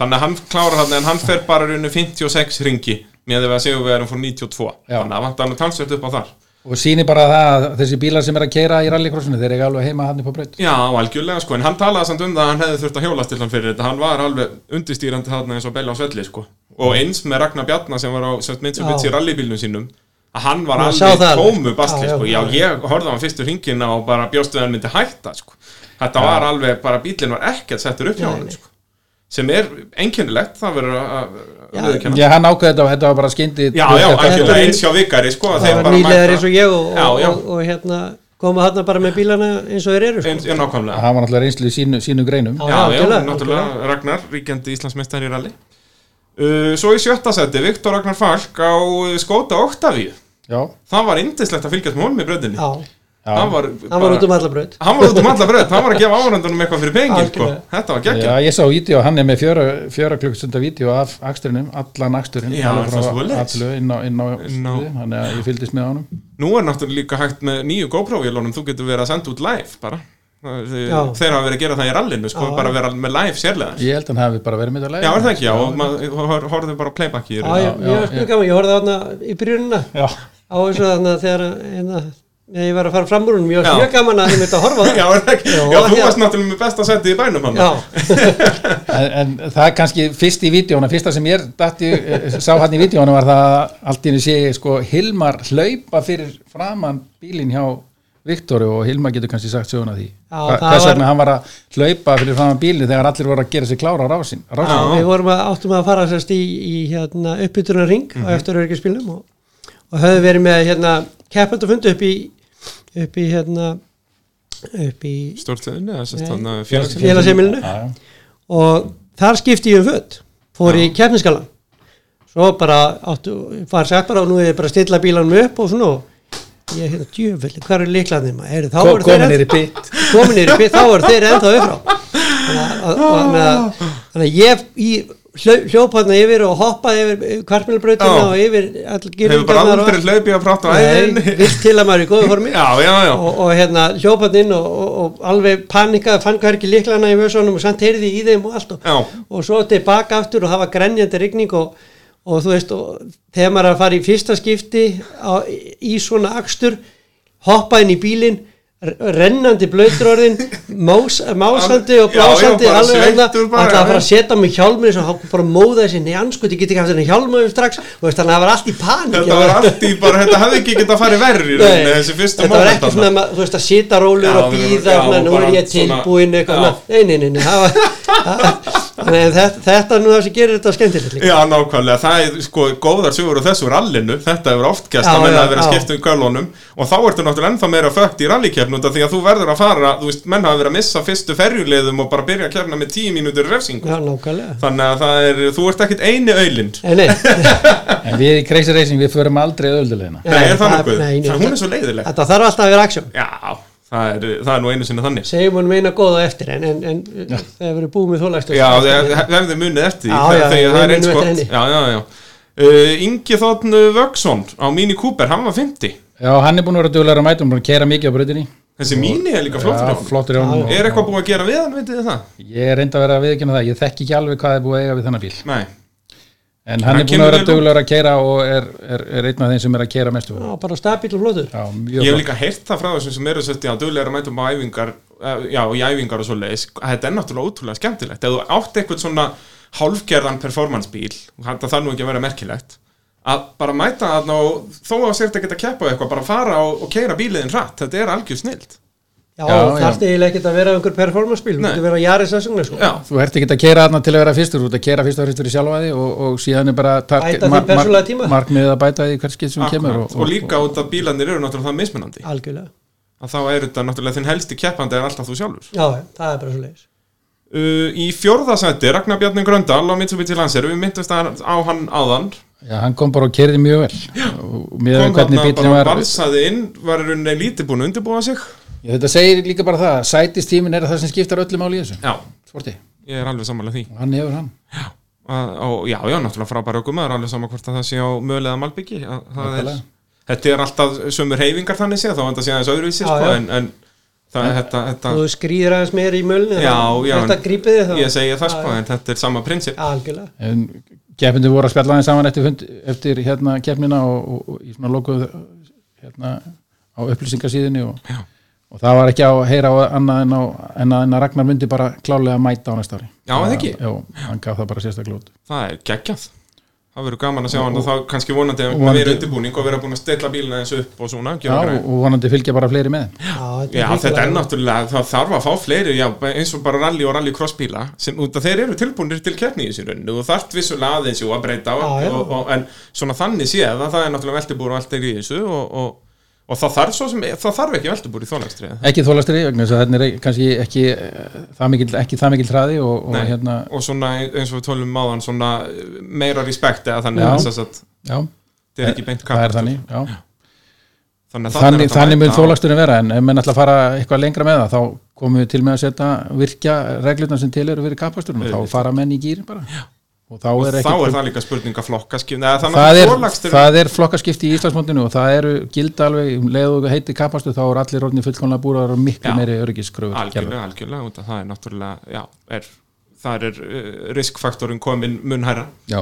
Þannig að hann klárar þarna en hann fer bara rauninu 56 ringi með því að segjum við erum fór 92. Já. Þannig að vantar hann talsvert upp á þar. og síni bara það að þessi bílar sem er að keira í rallycrossinu, þeir eru alveg heima hann upp á braut Já, algjörlega sko, en hann talaði samt um það að hann hefði þurft að hjólast til hann fyrir þetta, hann var alveg undistýrandi þarna eins og Bella á Svelli sko og eins með Ragnar Bjarnar sem var á sett mitt sem Já. bytti í rallybílnum sínum að hann var Maður sá alveg það alveg. tómu bastli Já, sko, já já, ég horfði á hann fyrstu hringina og bara bjóstu að hann myndi hætta sko þetta var alveg, bara bílinn var ekkert settur upp hjá Nei, hann nei. sko sem er einkennilegt, það verður að Já. viðurkenna. Já, hann ákveði þetta og þetta var bara skyndi Já, já, algjörlega er- eins hjá vikari sko að það þeir var bara nýlegar mæta eins og ég og, Já, já. og, og hérna koma hérna bara með bílana eins og þeir eru sko. eins, já, nákvæmlega hann var náttúrulega reynslu í sínu, sínu greinum Já. Já, já, algjörlega, náttúrulega Ragnar, ríkjandi Íslandsmeistari í rally uh, Svo í sjötta seti, Viktor Ragnar Falk á uh, skóta Octavíu Já, Það var indislegt að fylgjast með honum í bröðinni já, Hann var, hann var út um alla braut hann var út um alla bröð, hann var að gefa áhverjandunum eitthvað fyrir pengin sko. Algjörlega. Þetta var geggjum Já, ég sá vídeo, hann er með fjöra, fjöra klukkstunda vídeo af aksturinum, allan aksturinn Já, alveg frá það er svoleiðis. allu inn á, inn á Inn á- stuði, þannig að ég fylgdist með honum Nú er náttúrulega líka hægt með nýju GoPro-vélunum Þú getur verið að senda út live bara Þeir, Já. þeir hafa verið að gera það í rallinu sko, Já. bara vera með live sérlega Ég held að hann hafi bara verið með þetta Já, er það ekki, já, og maður horfðu bara á playback í já, þeirri. já, já, ég var já. spil gaman, ég horfði þarna í byrjunina Já, á þessu þarna þegar hérna, þegar ég var að fara fram úr húnum ég Já. var mjög gaman að ég myndi að horfa á það Já, er það ekki, Já, já, þú já. varst náttúrulega með besta seti í bænum hann já, en, en það er kannski fyrst í vídeóna, fyrsta sem ég datti, eh, sá hann í vídeóna var það að allt í henni sé sko Hilmar hlaupa fyrir framann bílinn hjá Viktori og Hilmar getur kannski sagt söguna af því Já, Hva- það Hvers var- vegna hann var að hlaupa fyrir framann bílinn þegar allir voru að gera sér klára á rásin, rásin. Já. við vorum að áttum að fara sérst í, í hérna, uppbytunar ring Mhm. á eftir öryggispilnum og, og höfðu verið með hérna, keppandi fundi upp í upp í hérna upp í Stórtleðinni, það sést Nei. hann félagsins félagsheimilinu Já, já. og þar skipti ég um föt fór í keppniskalan svo bara áttu, var sagt bara og nú er ég bara að stilla bílanum upp og svona og ég hefði djöfell, hvað eru líklandið maður eru þá Ko- eru þeir komin er í enn- pitt komin er í bit, þá eru þeir ennþá uppfrá þannig að- og- þannig að- þannig að ég í hljópaðna yfir og hoppaði yfir kvartmjölbrautina Já. og yfir allir Hefur bara aldrei hlaupið að práta á æðinni Nei, vilt til að maður er í góðu formi Já, já, já og, og hérna hljópaði inn og, og, og alveg panikaði, fann hverki líklana í vössunum og samt heyrði í þeim og allt og, Já, og svo tilbaka aftur og hafa grenjandi rigning og, og þú veist og, þegar maður er að fara í fyrsta skipti á, í svona akstur hoppa inn í bílinn r- rennandi blöyturorðin mós, másandi og Já, já, blásandi bara alveg hérna, sveittur bara, alltaf að fara já. að setja mig hjálmur þess að hann bara móða þessi, nei anskuti, ég get ekki haft þennan hjálmur strax og veist, þannig að það var allt í panik þetta var allt í bara, þetta hefði ekki getað farið verri í rauninni, Nei, þessi fyrstu þetta var móment ekki svona, ma- þú veist, að sita rólur Já, og við vorum- býða, já, svona, og nú er bara ég svona- tilbúin eitthvað, Já. svona. nei, nei, nei, nei, það var Nei, þetta, þetta er nú það sem gerir þetta skemmtilegt líka. Já, nákvæmlega, það er sko góðar sögur og þessu rallinu, þetta hefur oft gæst Já, að menna já, að vera já. skipt um kölunum og þá ertu náttúrulega ennþá meira fögt í rallykefn út af því að þú verður að fara, þú veist, menn hafa verið að missa fyrstu ferjuleiðum og bara byrja að kefna með tíu mínútur refsingu, Já, nákvæmlega þannig að það er, þú ert ekkit eini aulind Nei, nei, En við í Crazy Racing, við förum aldrei öðuldulegina. Nei, Nei, er það það- nokkuð? nei, nei, Það- Hún er svo leiðileg þetta þarf alltaf að vera aksjón Já, það er, það er nú einu sinni þannig Segjum hún meina góða eftir en, en, en það hefur verið búið með þólægstur Já, þið hef- hefði munið eftir því Já, þegar- já, þegar við það er munum eins eftir gott henni. Já, já, já uh, Ingi Þotn Vögson á Mini Cooper, hann var 50 Já, hann er búin að vera duglegar að mæta, hann er búin að keira mikið á bröðinni. Þessi Mini er líka flottur Já, hjá honum. flottur hjá honum. Er eitthvað búið að gera við hann, veitir þið það? Og Ég er reynd að vera að viðkynna það, ég þekki ekki alveg hvað er búið að eiga við þennan bíl. Nei En hann Hann er búin að kemur vera vel út. duglegar að keira og er, er, er einn af þeim sem er að keira mestu. Já, bara stabíl og flótur Já, Ég mjög hef flott. líka heyrt það frá þessum sem eru sett í að duglega að mæta um á æfingar eh, Já, í æfingar og svo leiðis Þetta er náttúrulega ótrúlega skemmtilegt Ef þú átt eitthvað svona hálfgerðan performance bíl og það þarf nú ekki að vera merkilegt að bara mæta að ná, þó að sért ekki að keppa á eitthvað, bara fara og, og keira bíliðin hratt, þetta er algjör snilt Já, Já, já. þarfti eiginlega ekkert að vera einhver performance bíl, þú Nei. getur verið að jari sessugna sko. Já, Þú ert ekki að keira þarna til að vera fyrstur út að keira fyrst og fyrstur í sjálfaði og, og síðan er bara Bæta þinn persónulega tíma. markmiðið að bæta því hvert skil sem kemur akkurat, og, líka út að bílandir eru náttúrulega það mismunandi algjörlega. að þá er þetta náttúrulega þinn helsti keppandi er alltaf þú sjálfur Já, já, það er bara svo leiðis. uh, Í fjórðasætti, Ragnar Bjarni Gröndal á Mitsubishi Lancer, við myndumst að- á hann áðan Já, hann kom bara og kerði mjög vel og með kom hvernig þarna bílinn bara var valsaði inn, var í rauninni lítið búin að undirbúa sig Já, Þetta segir líka bara það, að sætistímin er það sem skiptar öllum áli í þessu Já, Sporti, ég er alveg sammála því og hann hefur hann að, og, Já, já, náttúrulega frábæra okkur maður alveg saman hvort að það sé á mögulega malbyggi að, það er, Nákvæmlega. Þetta er alltaf sömu reyfingar þannig séð, þá enda sé aðeins öðruvísi Já, sko, já. en, en það er þetta, þetta Þú skrýðir aðeins meir í mölni, Já, já, þetta en- grípið þið þá. ég segi það Já, sko, en þetta er sama prinsip já, Algjörlega. En keppindu voru að spjalla þeim saman eftir, fund, eftir hérna keppnina og, og, og í svona lokuð hérna á upplýsingasíðinni og, Já. og það var ekki á að heyra á annað en, á, en að, en að Ragnar myndi bara klálega mæta á næsta ári Já, það ekki? Já, hann gaf það bara sérstaklega út Það er geggjað Það verður gaman að sjá hann og þá kannski vonandi að vonandi- vera undirbúning og vera búin að stilla bílina eins upp og svona Já, gera græn. og vonandi fylgja bara fleiri með Já, þetta Já, þetta er hrikalega. náttúrulega, það þarf að fá fleiri, já, eins og bara rally og rally crossbíla, sem út að þeir eru tilbúinir til keppni í þessu rauninu og þarft vissulega aðeins jú að breyta á, Já, já. og, og, en svona þannig séð að það er náttúrulega veltibúr og allt er í þessu og, og, og það þarf svo sem, það þarf ekki veltibúr í þólægstri ekki þólastri, vegna þess að þetta er ekki- kannski ekki eh, það mikill, ekki það mikill hraði og, og Nei. hérna, og svona eins og við tölum um áðan svona meira respekt eða þannig Já. að þess að já, þetta er ekki beint sko. það er kappaktur. þannig þannig, já. að þarna er þannig, þetta þannig mun mæta á- þólagsturinn vera en ef menn ætla að fara eitthvað lengra með það þá komum við til með að setja virkja reglurnar sem til eru fyrir kapasturinn og þá fara menn í gýrin bara og þá og er þá er ekki það líka spurninga flokkaskipn eða þannig það að er, þorlagstur það er flokkaskipti í Íslandsmóndinu og það eru gilda alveg um leið og heiti kapastur þá er allir orðinni fullkomlega búrar og miklu Já. meiri örgiskröfur algjörlega, algjörlega, út að það er náttúrulega já, er, þar er uh, riskfaktorin komin mun hærra já,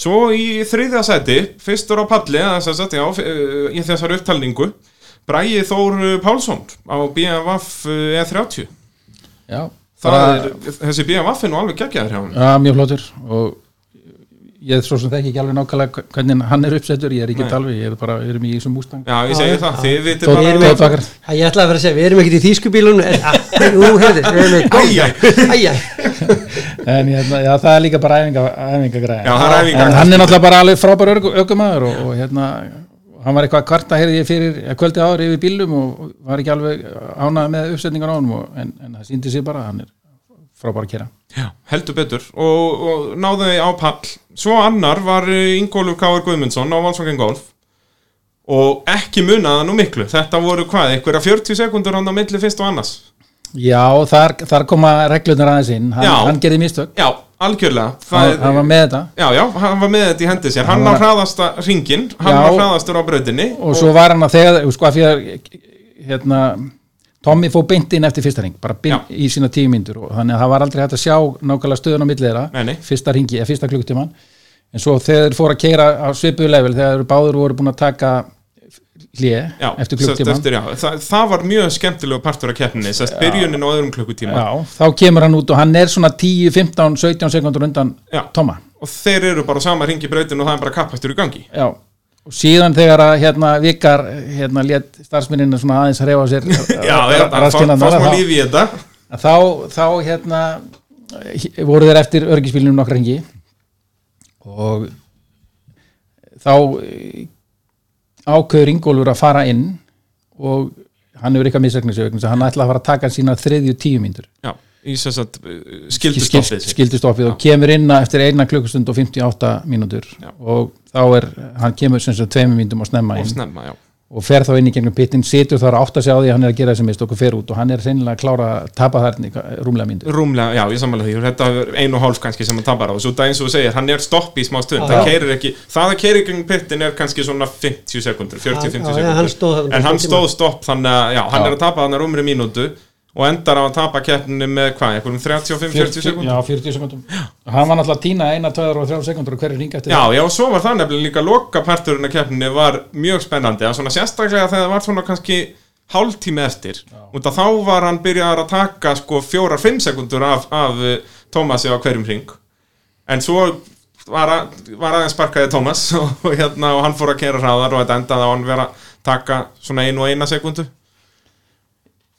svo í þriðja sæti, fyrstur á palli eða sem sagt, já, f- uh, í þessar upptalningu Bræði Þór uh, Pálsson á BMF uh, E30 já Það Bara- er, þessi BMF er nú alveg geggjaður hjá hann Já, mjög flottur og ég er svo sem þekki ekki alveg nákvæmlega hvernig hann er uppsettur, ég er ekki Nei. alveg, ég er bara, við erum í þessum Mustang. Já, ég Já, segi já, það, já. þið vitið Tóti, bara Tóti Akkar. Já, Ég ætlaði að vera að segja, við erum ekkert í þýskubílunum, en að- jú, heyrðu, við erum með Æja, Æja, En hérna, já, það er líka bara æfinga, æfinga Já, það er æfingagræja. En hann er náttúrulega bara alveg frábær örgu- ökumæður og, og hérna, hann var eitthvað að kvarta, heyrði ég fyrir ja, kvöldi áður yfir bílum og var ekki alveg ánað með uppsetningar á honum og, en, en það síndi sig bara, að hann er frábær að kera. Já, heldur betur og, og náðu þau á pall svo annar var eh, Ingólu Káur Guðmundsson á Valsvangin Golf og ekki munaða nú miklu þetta voru hvað, einhverja 40 sekundur hann á milli fyrst og annars Já, þar, þar koma reglunar aðeins inn, hann, Já. hann gerði mistök, já, algjörlega það, hann, hann var með þetta. já, já, hann var með þetta í hendi sér hann Hann var var- hraðasta ringin, hann Já. var hraðastur á brautinni og svo var hann að þegar þú sko að fyrir hérna Tommy fó beint inn eftir fyrsta ring bara beint Já. í sína tíu mínútur og þannig að það var aldrei hægt að sjá nákvæmlega stöðun á milli Nei, nei. þeirra fyrsta ringi eða fyrsta klukktíman en svo þegar þeir fóru að keira á svipuðu level þegar þeir báður voru búin að taka hlje já, eftir sest klukktíman eftir, já, það, það var mjög skemmtilegu partur af keppninni sest byrjunin á öðrum klukkutíma já, þá kemur hann út og hann er svona 10, 15, 17 sekundur undan Já. Tomma og þeir eru bara á sama ringi brautin og það er bara kappastur í gangi Já, og síðan þegar að hérna vikar, hérna létt starfsmennina svona aðeins reyfa sér já, já, það fá, raskinnarnar, fá smá þá- líf í þetta að þá, þá hérna voru þeir eftir örgisbílunum nokkra hengi og þá eh, ákveður Ingólfur að fara inn og hann hefur eitthvað misregnisögn hann ætlaði að fara að taka sína þriðju tíu mínútur Já, í þess að skildustoppið sitt. skildustoppið og kemur inn að eftir eina klukkustund og 58 mínútur Já. og þá er, hann kemur sem sagt tveimur mínútum og snemma og inn snemma, já. og fer þá inn í gegnum pittin, situr þar átt að segja á því að hann er að gera þessi mistök og fer út og hann er reynilega að klára að tapa þarna í rúmlega mínútur Rúmlega, já, ég samanlega því, þetta er einu og hálf kannski sem hann tapar á, svo það eins og þú segir, hann er stopp í smá stund, Já. það keirir ekki, það að keirir gegn pittin er kannski svona 50 sekundur, 40-50 Já, já, sekundur, hann stóð þarna en bara hann stóð stóð stopp, þannig að, já, hann Já. er að tapa þannig rúmri mínútu og endar á að tapa keppninni með, hvað, einhverjum 35-40 sekundur? Já, 40 sekundum og hann var náttúrulega að tína eina, tveðar og þrjá sekundur og hverju ringa eftir Já, já, og svo var það nefnilega líka lokaparturinn að keppninni var mjög spennandi að svona sérstaklega þegar það var svona kannski hálftími eftir út að þá var hann byrjaðar að taka sko fjórar, fimm sekundur af, af eh, Thomasi á hverjum ring en svo var, að, var aðeins sparkaði Thomas og, hérna, og hann fór að kera hraðar og þetta endaði á hann vera að taka svona einu og eina sekundu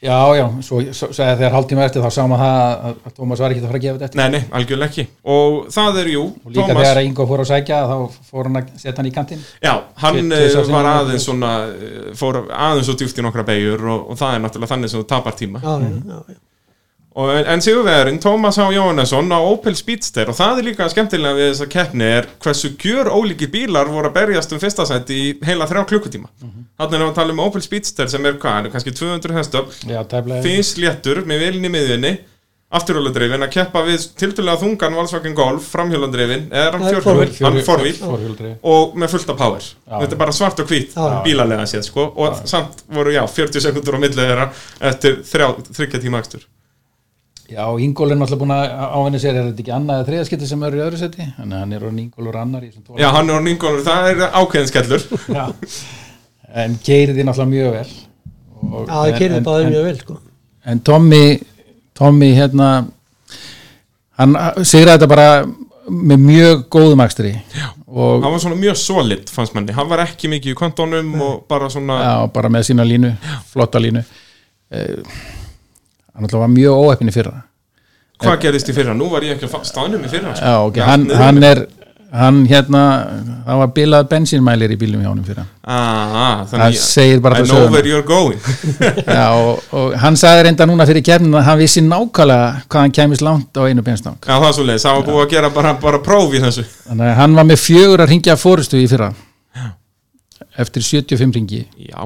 Já, já, svo, svo segja þegar hálftíma eftir þá sá maður það að- að Tómas var ekki að fara að gefa þetta eftir Nei, nei, algjörlega ekki og það er jú, og líka þegar Ingo fór að sækja þá fór hann að setja hann í kantinn Já, hann Tvisvar eh, sinnum var hann- aðeins svona eh, fór aðeins og djúft í nokkra beigur og, og það er náttúrulega þannig sem þú tapar tíma já, já, já. Og, en- en sigurvegarinn Tómas H. Jóhannesson á Opel Speedster og það er líka skemmtilega við þessa keppni er hversu gjör ólíkir bílar voru að berjast um fyrsta sæti í heila þrjá klukkutíma mm þannig að við tala um Opel Speedster sem er hvað, hann er kannski 200 hestöfl Já, tæflega fyrst léttur með velinni miðunni afturhjólandreifin að keppa við tildulega þungan Volkswagen Golf, framhjólandreifin eða er hann Það er fjórhjól, hann er forvíl Forvíl og með fullt af power þetta er bara svart og hvít Já. bílalega séð sko og samt voru já 40 sekundur á milli þeirra eftir þrjá, þryggja tíma akstur Já, Ingól er náttúrulega búin að ávinni sér er þetta ekki annað eða þriðaskipti sem eru í öðru seti en hann er orðin Ingólur annar í þessum tóla Já, hann er á Ingólfur, það er ákveðin skellur en keiriði náttúrulega mjög vel og, Já, það en- kerði en- báðið en- mjög vel sko. en Tommy Tommy hérna hann uh, sigraði þetta bara með mjög góðum akstri já. og hann var svona mjög solid fannst manni, hann var ekki mikið í kontónum og bara svona, já, bara með sína línu flotta línu uh, hann alltaf var mjög óheppin í fyrra hvað gerðist í fyrra nú var ég ekki að staðnum í fyrra sko. já, ok, Já, hann, niður. hann er hann hérna, það var bilað bensínmælir í bílum hjá honum fyrra ah, Það þannig segir bara I frá know söguna. where you're going já, og, og hann sagði reynda núna fyrir kefnin að hann vissi nákvæmlega hvað hann kæmist langt á einu benstang já, það er svo leiðis, það var búið að gera bara, bara próf í þessu þannig að hann var með fjögur að ringja fórustu í fyrra eftir 75 ringi já,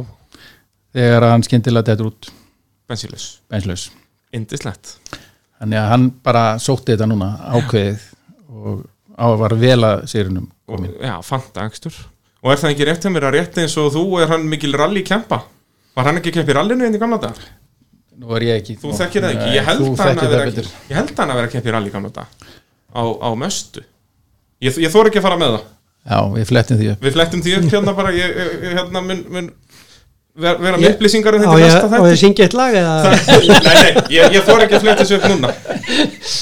þegar hann skyndilega dettur út bensinlaus, benslaus indislegt þannig að hann bara sótti þetta núna ákveðið og á að var vel að sérunum og, já, fanta akstur og er það ekki rétt hjá mér að rétt eins og þú er hann mikil rally kempa var hann ekki að keppa í rallinu einn í gamla dag nú er ég ekki þú þekkir það ekki, Nei, ég held, þú hann þekkir að það vera, betur. ég held hann að vera að keppa í rally í gamla dag á, á möstu ég, ég þor ekki að fara með það já, við flettum því upp Við flettum því upp hérna bara ég, ég- ég, hérna mun, mun ver, vera með Ég- upplýsingar um Já, þetta ég, næsta og ég þætti syngi eitt lag eða, Nei, nei, ég, ég fór ekki að fletta þessu upp núna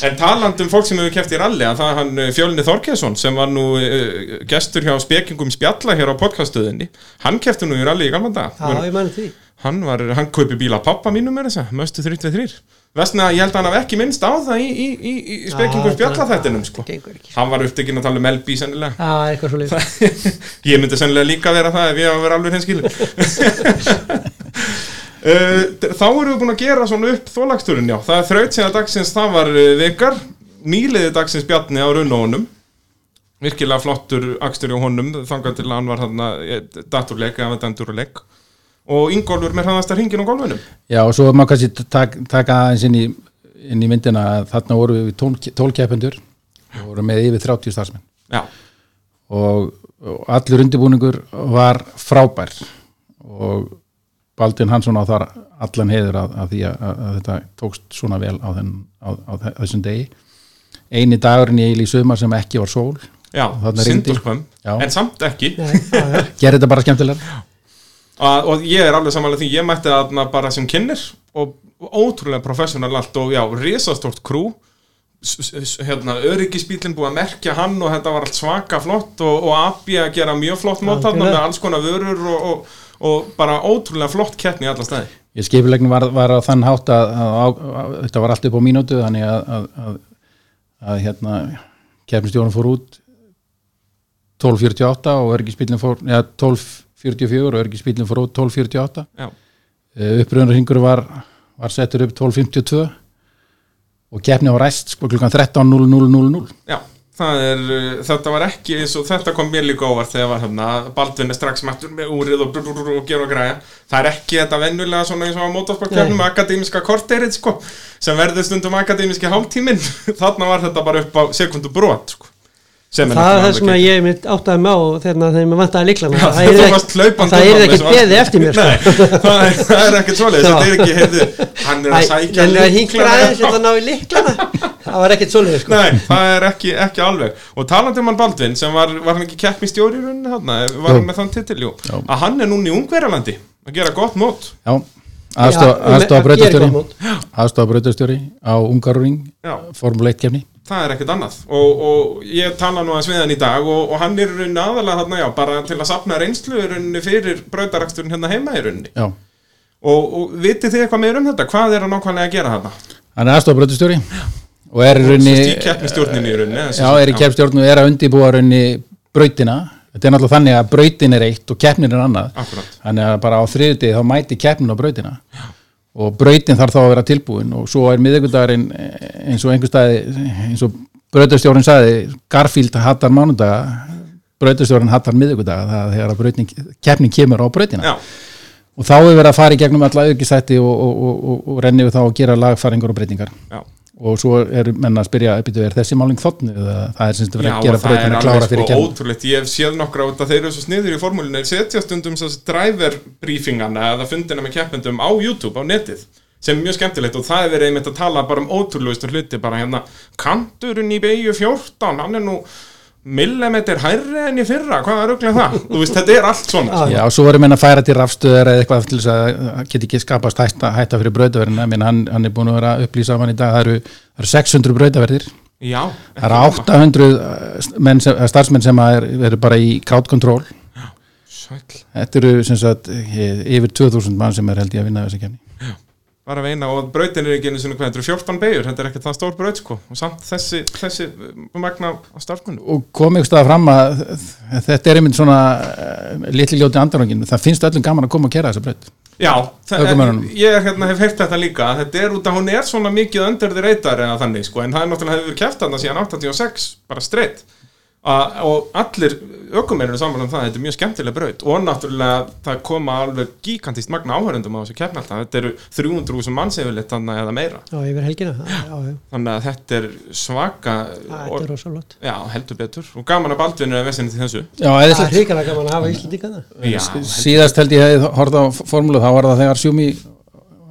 En taland um fólk sem hefur keft í ralli að það er hann eh, Fjölni Þorkesson sem var nú uh, gestur hjá spekingum spjalla hér á podcastuðinni Hann kefti nú í ralli í gamla dag já, ég mani því Hann var, hann kaupi bíla pappa mínum er þessa, möstu 33 Vestna, ég held að hann hafi ekki minnst á það í, í, í, í spekingum Já, spjalla það- þættinum það sko. gengur ekki. Hann var upptekinn að tala um LB sennilega Já, eitthvað svo leið ég myndi sennilega líka vera það ef ég á að vera alveg hinskilin uh, þá erum við búin að gera svona upp þólagsturinn já, það er þraut síðan dagsins það var uh, vikar, nýliði dagsins Bjarni á runnónum virkilega flottur akstur hjá honum þangað til að hann var eh, hann daturleik eða danduruleik og Ingólfur með hraðasta hringin á golfinum já, og svo má kannski tak, taka aðeins inn í, inn í myndina að þarna voru við tólkeppendur og voru með yfir 30 starfsmenn já, og, og allur undirbúningur var frábær og Baldvin Hansson á þar allan heiður að, að því að, að þetta tókst svona vel á, þenn, á, á þe- þessum degi eini dagurinn ég í sumar sem ekki var sól já, Þarna rigndi. sindurkvömm Já. en samt ekki Nei, já, já. gerði þetta bara skemmtilega að, og ég er alveg samanlega því ég mætti þarna bara sem kynir og ótrúlega professional allt og já, risastórt krú S- s- s- hérna, öryggisbílinn búið að merkja hann og þetta var allt svaka flott og, og Abbi að gera mjög flott mót þarna Algjörlega. með alls konar vörur og, og, og bara ótrúlega flott keppni í alla staði ég skipilegn var, var á þann hátt að, að, að, að þetta var allt upp á mínútu þannig að, að, að, að hérna keppnstjórn fór út 12.48 og örgisbílinn fór ja, 12.44 og örgisbílinn fór út 12.48 já, uppröðunarhingur Eh, var, var settur upp 12.52 og keppni á ræst sko, klukkan 13.00.00 já það er, uh, þetta var ekki eins og þetta kom mér líka óvart þegar var hérna Baldvin er strax mættur með úrið og, brr, brr, brr, og gera og græja, það er ekki þetta vennulega svona eins og á mótorsportkeppnum akademiska korterið sko, sem verður stundum akademiski hálftíminn, þarna var þetta bara upp á sekundu brot sko. Sem Það er náttúrulega það sem að alveg ég mitt áttaði mig á hérna, þegar þegar mér vantaði líklana Já, Það er þú varst ekki, hlaupandi það um yrði hann ekkert eins og beðið eftir mér sko. Nei, það er, það er ekkert svoleiðis, Já. þetta er ekki, heyrðu, hann er að Æ, sækja Þannig að hinkra um lyklana. aðeins þetta ná í líklana Það var ekkert svo leið sko. Nei, það er ekki, ekki alveg Og talandi um hann Baldvin sem var, var hann ekki keppni stjóri í rauninni þarna, var hann Jú. með þann titil, jú Jú. að hann er núna í Ungverjalandi að gera gott mót já, Já, um- aðstofa að gera brautastjóri gott mót. aðstofa brautastjóri á Ungaroring Já. Formule 1 keppni það er ekkert annað og, og ég tala nú að sviðan í dag og, og hann er í rauninni aðalega þarna já bara til að safna reynslu í rauninni fyrir brautaraksturinn hérna heima í rauninni já. og, og vitið þið eitthvað meir um þetta, hvað er hann nákvæmlega að gera þarna Hann er aðstofabröndustjóri og er í rauninni, Sérst í keppnistjórninni í rauninni eða sem já, sagt, er í keppstjórn og er að undibúa rauninni brautina. Þetta er náttúrulega þannig að brautin er eitt og keppnin er annað. Akkúrat. Þannig að bara á þriðutegi þá mæti keppnin á brautina. Já. Og brautin þarf þá að vera tilbúin og svo er miðvikudagurinn eh, eins og einhver staði, eins og brautastjórinn sagði, Garfield hattar mánudaga, brautastjórinn hattar miðvikudaga, það er þegar að brautin, keppnin kemur á brautina. Já, og þá er verið að fara í gegnum alla aukistætti og, og, og, og, og renni við þá að gera lagfæringar og breytingar já og svo eru menn að spyrja uppbyttu er þessi málning þotnu eða það er sem þetta Já, verið að og gera það er breytina alveg klára fyrir sko kemur ótrúlegt, ég hef séð nokkra út að þeir eru svo sniður í formúlinu, þeir setja stundum svo driver briefingana eða fundina með keppendum á YouTube, á netið sem er mjög skemmtilegt og það er verið einmitt að tala bara um ótrúlegustu hluti, bara hérna kanturinn í beigju 14, hann er nú millimetr hærri enn í fyrra hvað er auðvitað það, þú veist þetta er allt svona Já. Já, svo verður menn að færa til rafstöðar eða eitthvað til þess að að geti ekki skapast hætta, hætta fyrir brautaverðina, menn hann, hann er búin að vera að upplýsa af hann í dag, það eru, það eru 600 brautaverðir, Já, það eru 800 menn sem, eða starfsmenn sem að er, eru bara í crowdkontról, sæll þetta eru sem sagt eh, yfir 2000 mann sem er held ég að vinna þessa kemni bara veina og brautin er ekki einu sinni hvað, þetta eru 14 beigur, þetta er ekkert það stór braut sko og samt þessi, þessi magna á starfkunnu og kom ykkur stað fram að þetta er einmitt svona uh, litli ljóti andarangin, það finnst öllum gaman að koma og kera þessa braut Já, það, Ökumönnunum. ég hérna, hef heyrt þetta líka að þetta er út að hún er svona mikið under the radar eða þannig sko, en það er náttúrulega hefur kæft þarna síðan 86, bara streitt og allir ökumennir saman um það, þetta er mjög skemmtileg braut og náttúrulega það koma alveg gíkantist magna áhörundum á þessu keppni alltaf þetta eru 300.000 manns yfirleitt þannig eða meira Já, yfir helgina Já, já, já. þannig að þetta er svaka Æ, þetta og, er rosalegt já, heldur betur og gaman að Baldvin er að vesinni til þessu Já, Það er eðlislegt. hrikalega gaman að hafa Íslandingana Já, síðast held ég hefði horfði á formúlu þá var það þegar Sjúmi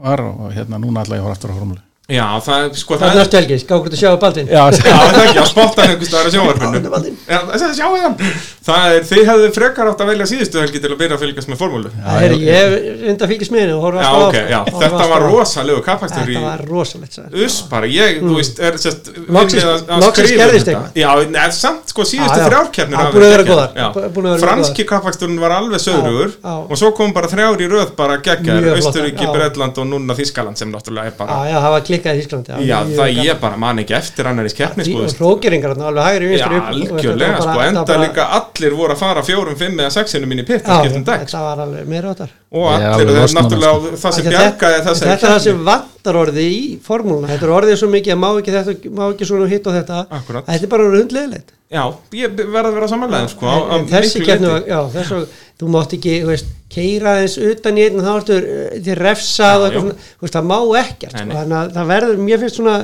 var og hérna núna ætla ég að horfa aftur á formúlu já það, er- sko, Það er næstu helgi, skákur þetta sjá að baldin Já, það er ekki að spotta hann einhvers staðar á sjónvarpinu Baldin, Baldin. Já, þessi- sjáu hann Það er, þið hefðu frekar átt að velja síðustu helgi til að byrja að fylgjast með formúlu Já, Það er ég reynda að fylgjast með henni og horfa alltaf ok, áfram, já, horfa þetta alltaf var áfram. rosalegu kappakstur í Þetta var rosalegt sagði. Us bara, ég, þú veist, er sérst Loksins- viljið að- að loksins skrifa um gerðist þetta. eitthvað. Já, en samt, sko, síðustu Já, já. þrjárkjarnir Já, búin að vera góðar. Búin að vera Franski kappaksturinn var alveg söðrugur Já, já. Og svo kom bara þrjár í röð bara geggar Mjög flottar, Östuríki, já. Bretland og núna Þískaland sem náttúrulega er Já, bara já, það var klikkað í Íslandi Já, það ég bara man ekki eftir annars keppni, sko Og hrókeringar þarna alveg hægri Já, vinstri upp og þetta var algjörlega, bara- sko, þetta enda var bara- líka allir voru að fara fjórum, fimm eða sexinum inn í pitt Já, að skiptum dag þetta var alveg meira áttar og Ég er allir alveg þeir losnað, náttúrulega það sem bjargaði Þetta þessari þetta er það sem vantar orðið í formúluna Þetta er orðið svo mikið að má ekki, þetta, má ekki svona hitt og þetta Akkúrat. Þetta er bara orðið hundlegilegt Já, ég verða að vera samanlega sko, á- á En þessi miklu keppni leyti. var, já, þessu, þú mátt ekki, þú veist, keira eins utan í einn, þá ertu eh, þér refsað og Já, já. eitthvað svona, þú veist, það má ekkert, Nei, sko, nei. þannig að það verður, mér finnst svona,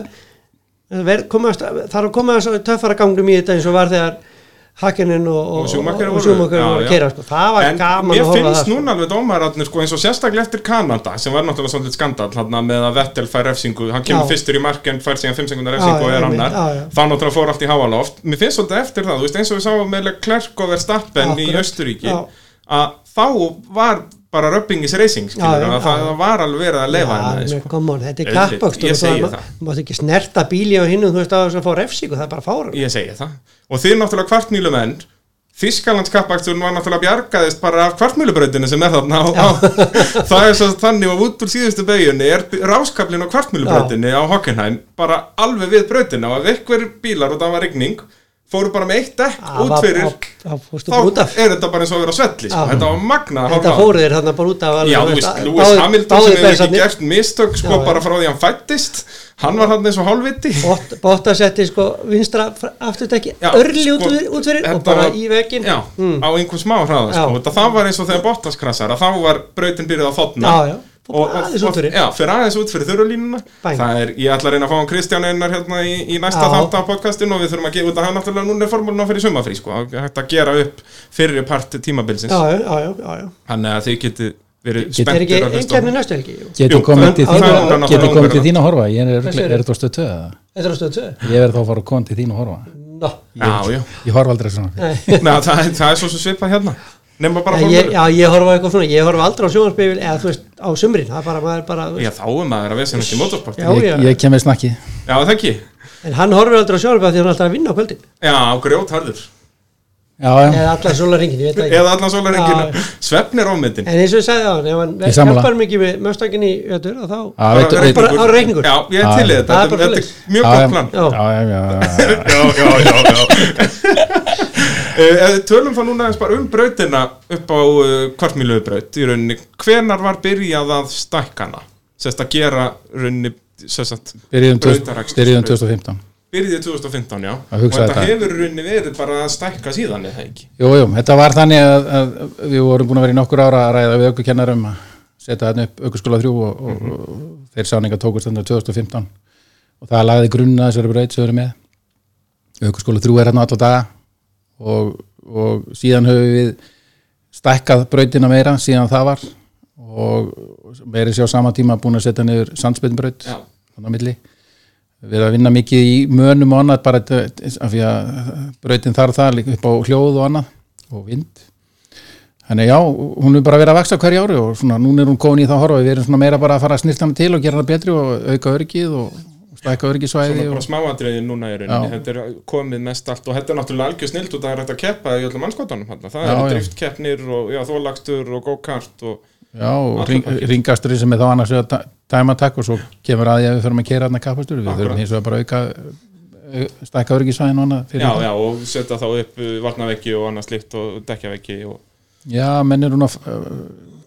það verð, komast, þarf að koma þess að töffara gangum í þetta eins og var þegar Hakkinin og, og sjúmakar og Schumacher voru að keira, sko, það var gaman mér að horfa á finnst það, sko. núna alveg dómararnir sko, eins og sérstaklega eftir Kanada sem var náttúrulega svolítið skandal hana, með að Vettel fær refsingu, hann kemur Já. fyrstur í marken fær síðan 5 sekundar Já, refsingu og já, er einmitt, annar já, já. þá náttúrulega fór allt í háaloft mér finnst svolítið eftir það, þú veist, eins og við sáum með Klerk og Verstappen í Akkurat. Östuríki Já. að þá var bara rubbingis racing skilur, Já, já, að það, já. það var alveg verið að leifa Já, henni menn, sko. come on, þetta er Auðvitað, kappakstur ég og það segi má- það. þú mátt ekki snerta bíli á hinnum þú veist að þess að fá refsingu, það er bara fárum ég segi það og þið náttúrulega kvartmýlum enn Þískalands kappakturinn var náttúrulega bjargaðist bara af kvartmýlubrautinu sem er þarna á, á, það er svo þannig og út úr síðustu beigjunni er ráskablin á kvartmýlubrautinu á Hockenheim bara alveg við brautina og ef einhver bílar og það var rigning fóru bara með eitt dekk út fyrir þá út af er þetta bara eins og að vera á svelli sko. Já. þetta var magnað að Þetta horfa á. fóru þér þarna bara út af alveg, Já, þú þú veist, veist, að- Lewis báðir- Hamilton báðir sem hefur ekki Bensarnir. gert mistök sko Já, já. bara frá því hann fættist hann var hann eins og hálfviti Bott- Botta setti sko vinstra afturdekki Já, örli út sko, fyrir, út fyrir og þetta bara var- í Hmm. veginn Mm. já, á einhver smá hraða Já. sko. Þetta- það var eins og þegar Bottas krassar að þá var brautin byrjuð að þotna Já, já, fór bara aðeins út fyrir. já, fyrir aðeins út fyrir þurrulínuna Bang. það er, ég ætla að reyna að fá hann Kristján Einar hérna í, í næsta Já. þátt af podcastinu og við þurfum að gefa út að hann náttúrulega núna er formúluna fyrir sumafrí sko, Það er hægt að gera upp fyrir part tímabilsins já, já, já, já, já. þannig að þið getið verið Getið- er ekki spenntir að einn hlusta á- kemni næstu helgi jú. Jú, getur það- komið til það þín að- er náttúrulega getur komið til óperan. þín að horfa ég er, Hvað segirðu? er, er þetta stöð tvö eða? þetta er á stöðu 2 ég verð þá að fara að koma til þín að horfa no. Já, já, ég horfa aldrei svona Nei, það, er- það er svo sem svipað hérna Nefna bara já, ég, formúlu já, ég horfa á eitthvað svona, ég horfa aldrei á sjónarspifil eða þú veist, á sumrin, það er bara, maður bara þú veist, Já, þá er maður að vesa ekki í motorsport Já, ég, já. ég kem með snakki Já, það ekki en hann horfir aldrei á sjónarbröð því hann er alltaf að vinna á kvöldin Já, grjótharður já, já, eða allan sólarringin, ég veit það ekki Eða allan Já. sólarenginu Svefn er ofmyndin en eins og ég sagði á hann, ef hann Ég sammála. hjálpar mikið með möstakinn í ötur þá Já, Bara veit- veit- reikningur. bara- bara reikningur. Já, ég er Já, til í já. þetta Það er Þetta- bara Þetta svoleiðis. er mjög Já, gott já. plan Já. já, já, já, já. já, já, já, já. Eh, ef við Tölum þá núna eins bara um brautina upp á uh, kvartmýlubraut í rauninni, hvenar var byrjað að stækkana, sérst að gera rauninni, sérst að Byrjuðum Brautarakstur. 2000 byrjuðum 2015 byrjið 2015, já Að og hugsa þetta þetta. hefur í rauninni verið bara að stækka síðan eða ekki Jú, jú, þetta var þannig að, að við vorum búin að vera í nokkur ára að ræða við aukukennarum að setja þarna upp aukuskóla 3 og, og, og þeir sáninga tókust þannig 2015 og það lagði grunna þessari braut sem við erum með aukuskóla 3 er hérna alla daga og, og síðan höfum við stækkað brautina meira síðan það var og meiri sér á sama tíma búin að setja niður sandsbytnbraut Já. þannig á milli við erum að vinna mikið í mönum og annað bara þetta- af því að brautin þarf það líka upp á hljóð og annað og vind þannig já, hún er bara að vera að vaksa hverju ári og svona núna er hún komin í það horfa við erum svona meira bara að fara að snýrta hana til og gera hana betri og auka örgið og stækka Svona örgisvæði bara og, smáatriðin núna í rauninni, Já. þetta er komið mest allt og þetta er náttúrulega algjör snilt og það er hægt að keppa í öllum anskotanum þarna. það Já, eru já. driftkeppnir og já, þólagstur og go-kart og já, og Allur ring, pakkinn. ringastri sem er þá annars vegar ta- tæmatakk og svo kemur að því að við þurfum að keira hana kappastur við Akkurat. þurfum hins vegar bara að auka au- stækka örgisvæðin og annað fyrir já, það. já, og setja þá upp uh, varnaveggi og annað slikt og dekkjaveggi og... já, menn er hún að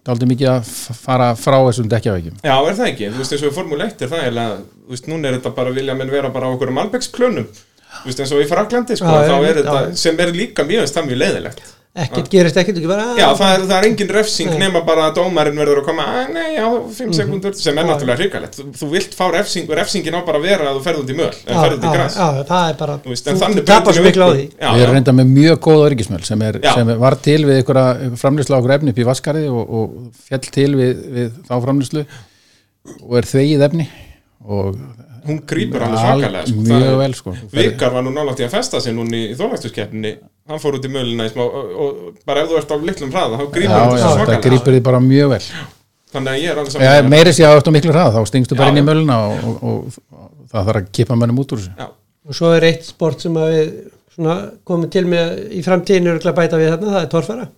daldi mikið að f- fara frá þessum dekkjaveikjum Já, er það ekki, þú veist eins og í Formule 1 er það eiginlega, þú veist, núna er þetta bara vilja menn vera bara á okkur um albegsklönum þú veist eins og í Fraklandi, sko, Já, þá já, er já, þetta já. sem er líka mjög veist það mjög leiðilegt ekkert gerist ekkert, ekki bara Já, það er, það er engin refsing Nei. Mhm. nema bara að dómarinn verður að koma að nei, já, 5 sekundur, sem er Já, náttúrulega hrikalegt þú, þú vilt fá refsing og refsingin á bara að vera að þú ferð út í möl, en Já, ferð út í já, græs já, ah, það er bara, Þú veist, þú, en þú þannig tapar svo miklu á því Já, við erum já, reynda með mjög góð örgismjöl sem, er, Já. sem var til við ykkur framlýsla okkur efni upp í vaskari og, og fjall til við, við þá framlýslu og er þvegið efni og hún grýpur alveg al- svakalega sko, það mjög er- vel sko Vikar var nú nálægt í að festa sig núna í þólægstuskeppninni hann fór út í mölina í smá og, og bara ef þú ert á litlum hraða þá já, grípur já, þetta svo þetta svakalega grýpur þið bara mjög vel þannig að ég er alveg ja, saman meiri sé að eftir miklu hrað þá stingstu Já, bara inn já. í möluna og, og, og, það þarf að kippa mönnum út úr þessu já, og svo er eitt sport sem að við svona, komum til með í framtíðinu örugglega að bæta við þarna, það er torfara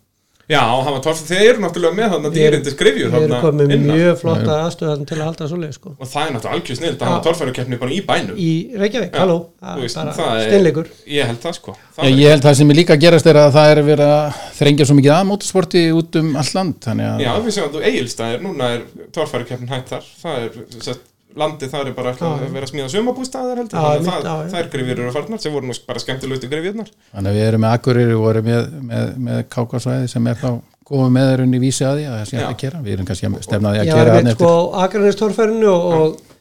já, og hann var torfið þeir eru náttúrulega með þarna dýrindis grifjur við erum þarna komið innan mjög flotta aðstöðan til að halda svo leið sko. og það er náttúrulega algjör snild að hann torfærukeppni bara í bænum í Reykjavík, Já, halló þú það veist, er bara það er- steinleikur ég held það sko Já, það ég held það sem er líka að gerast er að það er verið að þrengja svo mikið að mótorsporti út um allt land þannig að já, við séum að þú eigilstæðir núna er torfærukeppnin hætt þar það er sett landið þar er bara ætlað Já. að vera að smíða sumabústaðar heldur, Já, þannig að mitt, já, það, já. þær grifjur eru farnar sem voru nú bara skemmtilegustu grifjurnar Þannig að við erum með Akureyri og erum með, með, með kákasvæði sem er þá komið með þeirinn í vísi að því að það sé hægt að Já. gera. Við erum kannski að stefna að því ég að var gera með þannig sko eftir. á Akranestorfærinu og, og,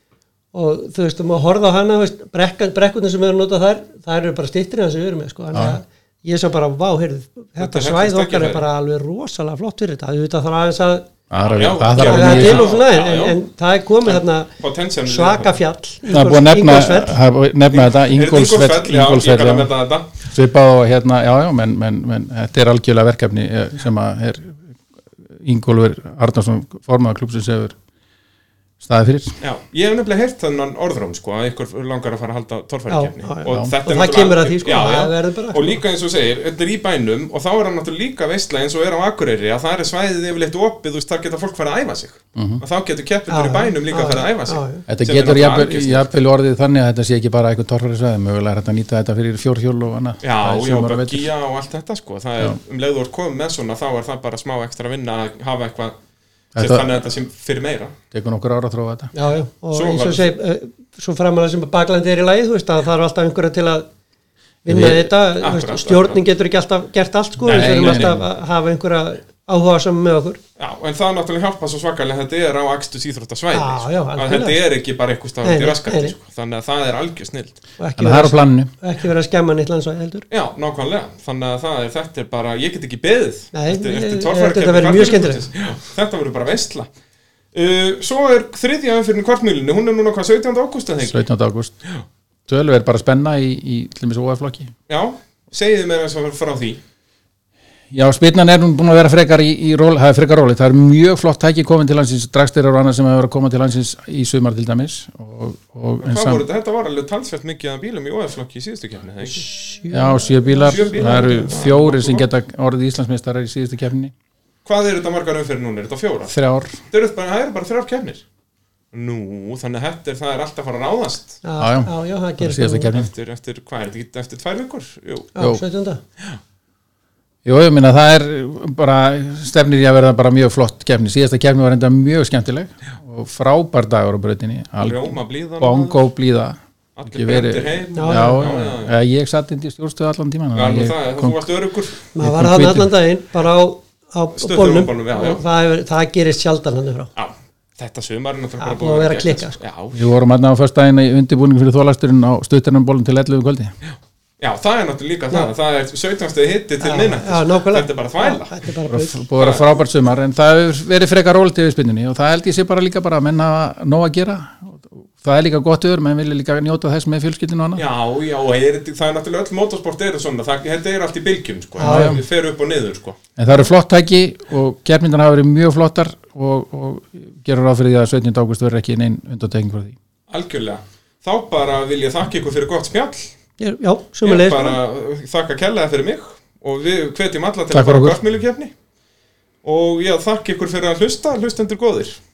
og þú veist, um að horfa á hana þú veist, brekkan, brekkunni sem við erum notað þær það eru bara stittri hans sem við erum með sko þannig að ég sá bara, vá, heyrðu, Þetta þetta er svæð þetta okkar er tækifæri. bara alveg rosalega flott fyrir þetta, þú veit að það er aðeins að Það Já, þarf- það þarf já, að vera það er til mjög... og svona, Já, en, já. en, en það er komið þarna Potential- svaka fjall Það er búið að nefna, Ingólfsfell. það er búið að nefna þetta, Er þetta Ingolsfell, já, ég Ingolsfell, kann að já, metta þetta svipað og hérna, já, já, menn, menn, menn, þetta er algjörlega verkefni eh, sem að er Ingolfur Arnarsson, formaða klúpsins hefur staðið fyrir. Já, ég hef nefnilega heyrt þennan orðróm sko, að ykkur langar að fara að halda torfærikeppni Já, já, já. og, Og þetta er það náttúrulega kemur að algjör- því, sko, já, það já. verður bara. og líka eins og þú segir, þetta er í bænum og þá er hann náttúrulega líka veistla eins og er á Akureyri að það er svæðið yfirleitt opið og þar geta fólk farið að æfa sig og þá getur keppendur Já, í bænum líka já, farið að æfa sig já, já. Mhm. Sem Þetta er getur náttúrulega jafnvel algjör snill. jafnvel orðið þannig að þetta sé ekki bara eitthvað torfærisvæði, mögulega er þetta að nýta þetta fyrir fjórhjól og annað. Já, Það er já, sumar og bara vetur. gíja og allt þetta sko það er, um leið og er komið með svona þá er það bara smá ekstra vinna að hafa eitthvað sem Þetta- þannig að þetta sem fyrir meira tekur nokkur ára að þróa þetta Já, já, og Svo eins var- og segi, eh, svo framalega sem baklandi er í lagi, þú veist að það er alltaf einhverja til að vinna Við- þetta, þú veist, Akkurat, stjórnin getur ekki alltaf gert allt sko, Nei, við þurfum nei, alltaf að hafa einhverja áhuga saman með okkur. Já, en það er náttúrulega hjálpa svo svakalega þetta er á akstus íþróttasvæði Já, sko. já, að algjörlega. þetta er ekki bara eitthvað Nei, stafandi nei, nei, raskandi nei. sko. þannig að það er algjör snild og ekki þannig að það er á vera, planinu ekki vera að skemma neitt landsvæði heldur. Já, nákvæmlega, þannig að það er, þetta er bara ég get ekki beðið Nei, Eftir- eftir eh, torfærukeppni þetta verður mjög kvartmíluflutnings. Já, Þetta verður bara veistla uh, Svo er þriðja umfyrin kvartmýlinu, hún er núna hvað 17. ágúst að þengi 17. ágúst Tölv er bara spenna í, í til og með svo OF-flokki Já, segiði mér eins og frá því Já, spilnan er nú búin að vera frekar í, í ról, það er frekar róli, það er mjög flott tæki komin til hansins, dragstyrir og annað sem hefur verið að koma til hansins í sumar til dæmis og, og en Hvað samt- voru þetta? Þetta var alveg talsvægt mikið að bílum í OF-flokki í síðustu kemni, eða ekki? Já, sjö bílar, Sjö bílar. það eru fjóri sem geta orðið Íslandsmeistarar í síðustu keppni Hvað eru þetta margar umferð núna? Er þetta fjóra? þrjár, Það eru bara, það eru bara þrjár kemnir. Nú, þannig að þetta er, það er alltaf að fara að ráðast já. já, já, það það er gerir síðustu keppni eftir, eftir hvað er þetta? ekki- Eftir tvær vikur? Jú. Jú. 17. Jú, ég minna, það er bara stefnir í að verða bara mjög flott keppni síðasta keppni var enda mjög skemmtileg og frábær dagur á brautinni Al- Rjóma blíðan. bongo blíða Allir Ekki verið- bendir heim. Já, já, já, ég satt indi í stjórnstöðu allan tíman Já, alveg það, þú varst örugur. maður Ég var kom hann hvítur. allan daginn bara á, á Stöðugur bólnum bólnum, já, já. og það, hefur- það gerist sjaldan hann frá Já, þetta sumar er náttúrulega Já, bara búið að vera að geggjað, klikka, sko. Já, Við vorum aðna á föstudaginn í undirbúningu fyrir þólasturinn á stuttarnum bólum til 11 um kvöldi. já, það er náttúrulega líka það, það er 17. hitti til minnætt, Já, nákvæmlega. þetta er bara þvæla. Já, þetta er bara bull. Búið að vera frábært sumar en það hefur verið frekar rólit yfir spinnunni og það held ég sé bara líka bara að menna nóg að gera. Það er líka gott öður, menn vilja líka njóta þess með fjölskyldinu og annað. Já, já, og er, þetta- það er náttúrulega öll motorsport eru svona, það, þetta er allt í bylgjum, sko, Já, það fer upp og niður, sko. En það eru flott tæki og keppnindan hafa verið mjög flottar og, og gerur ráð fyrir því að 17. águst verður ekki neinn undantekning frá því. Algjörlega. Þá bara vil ég þakka ykkur fyrir gott spjall, Ég- já, ég sumulegis bara uh, þakka kellaði fyrir mig og við hvetjum alla til Takk að fyrir fara okkur. kvartmýlukefni og já, þakka ykkur fyrir að hlusta, hlustendur góðir.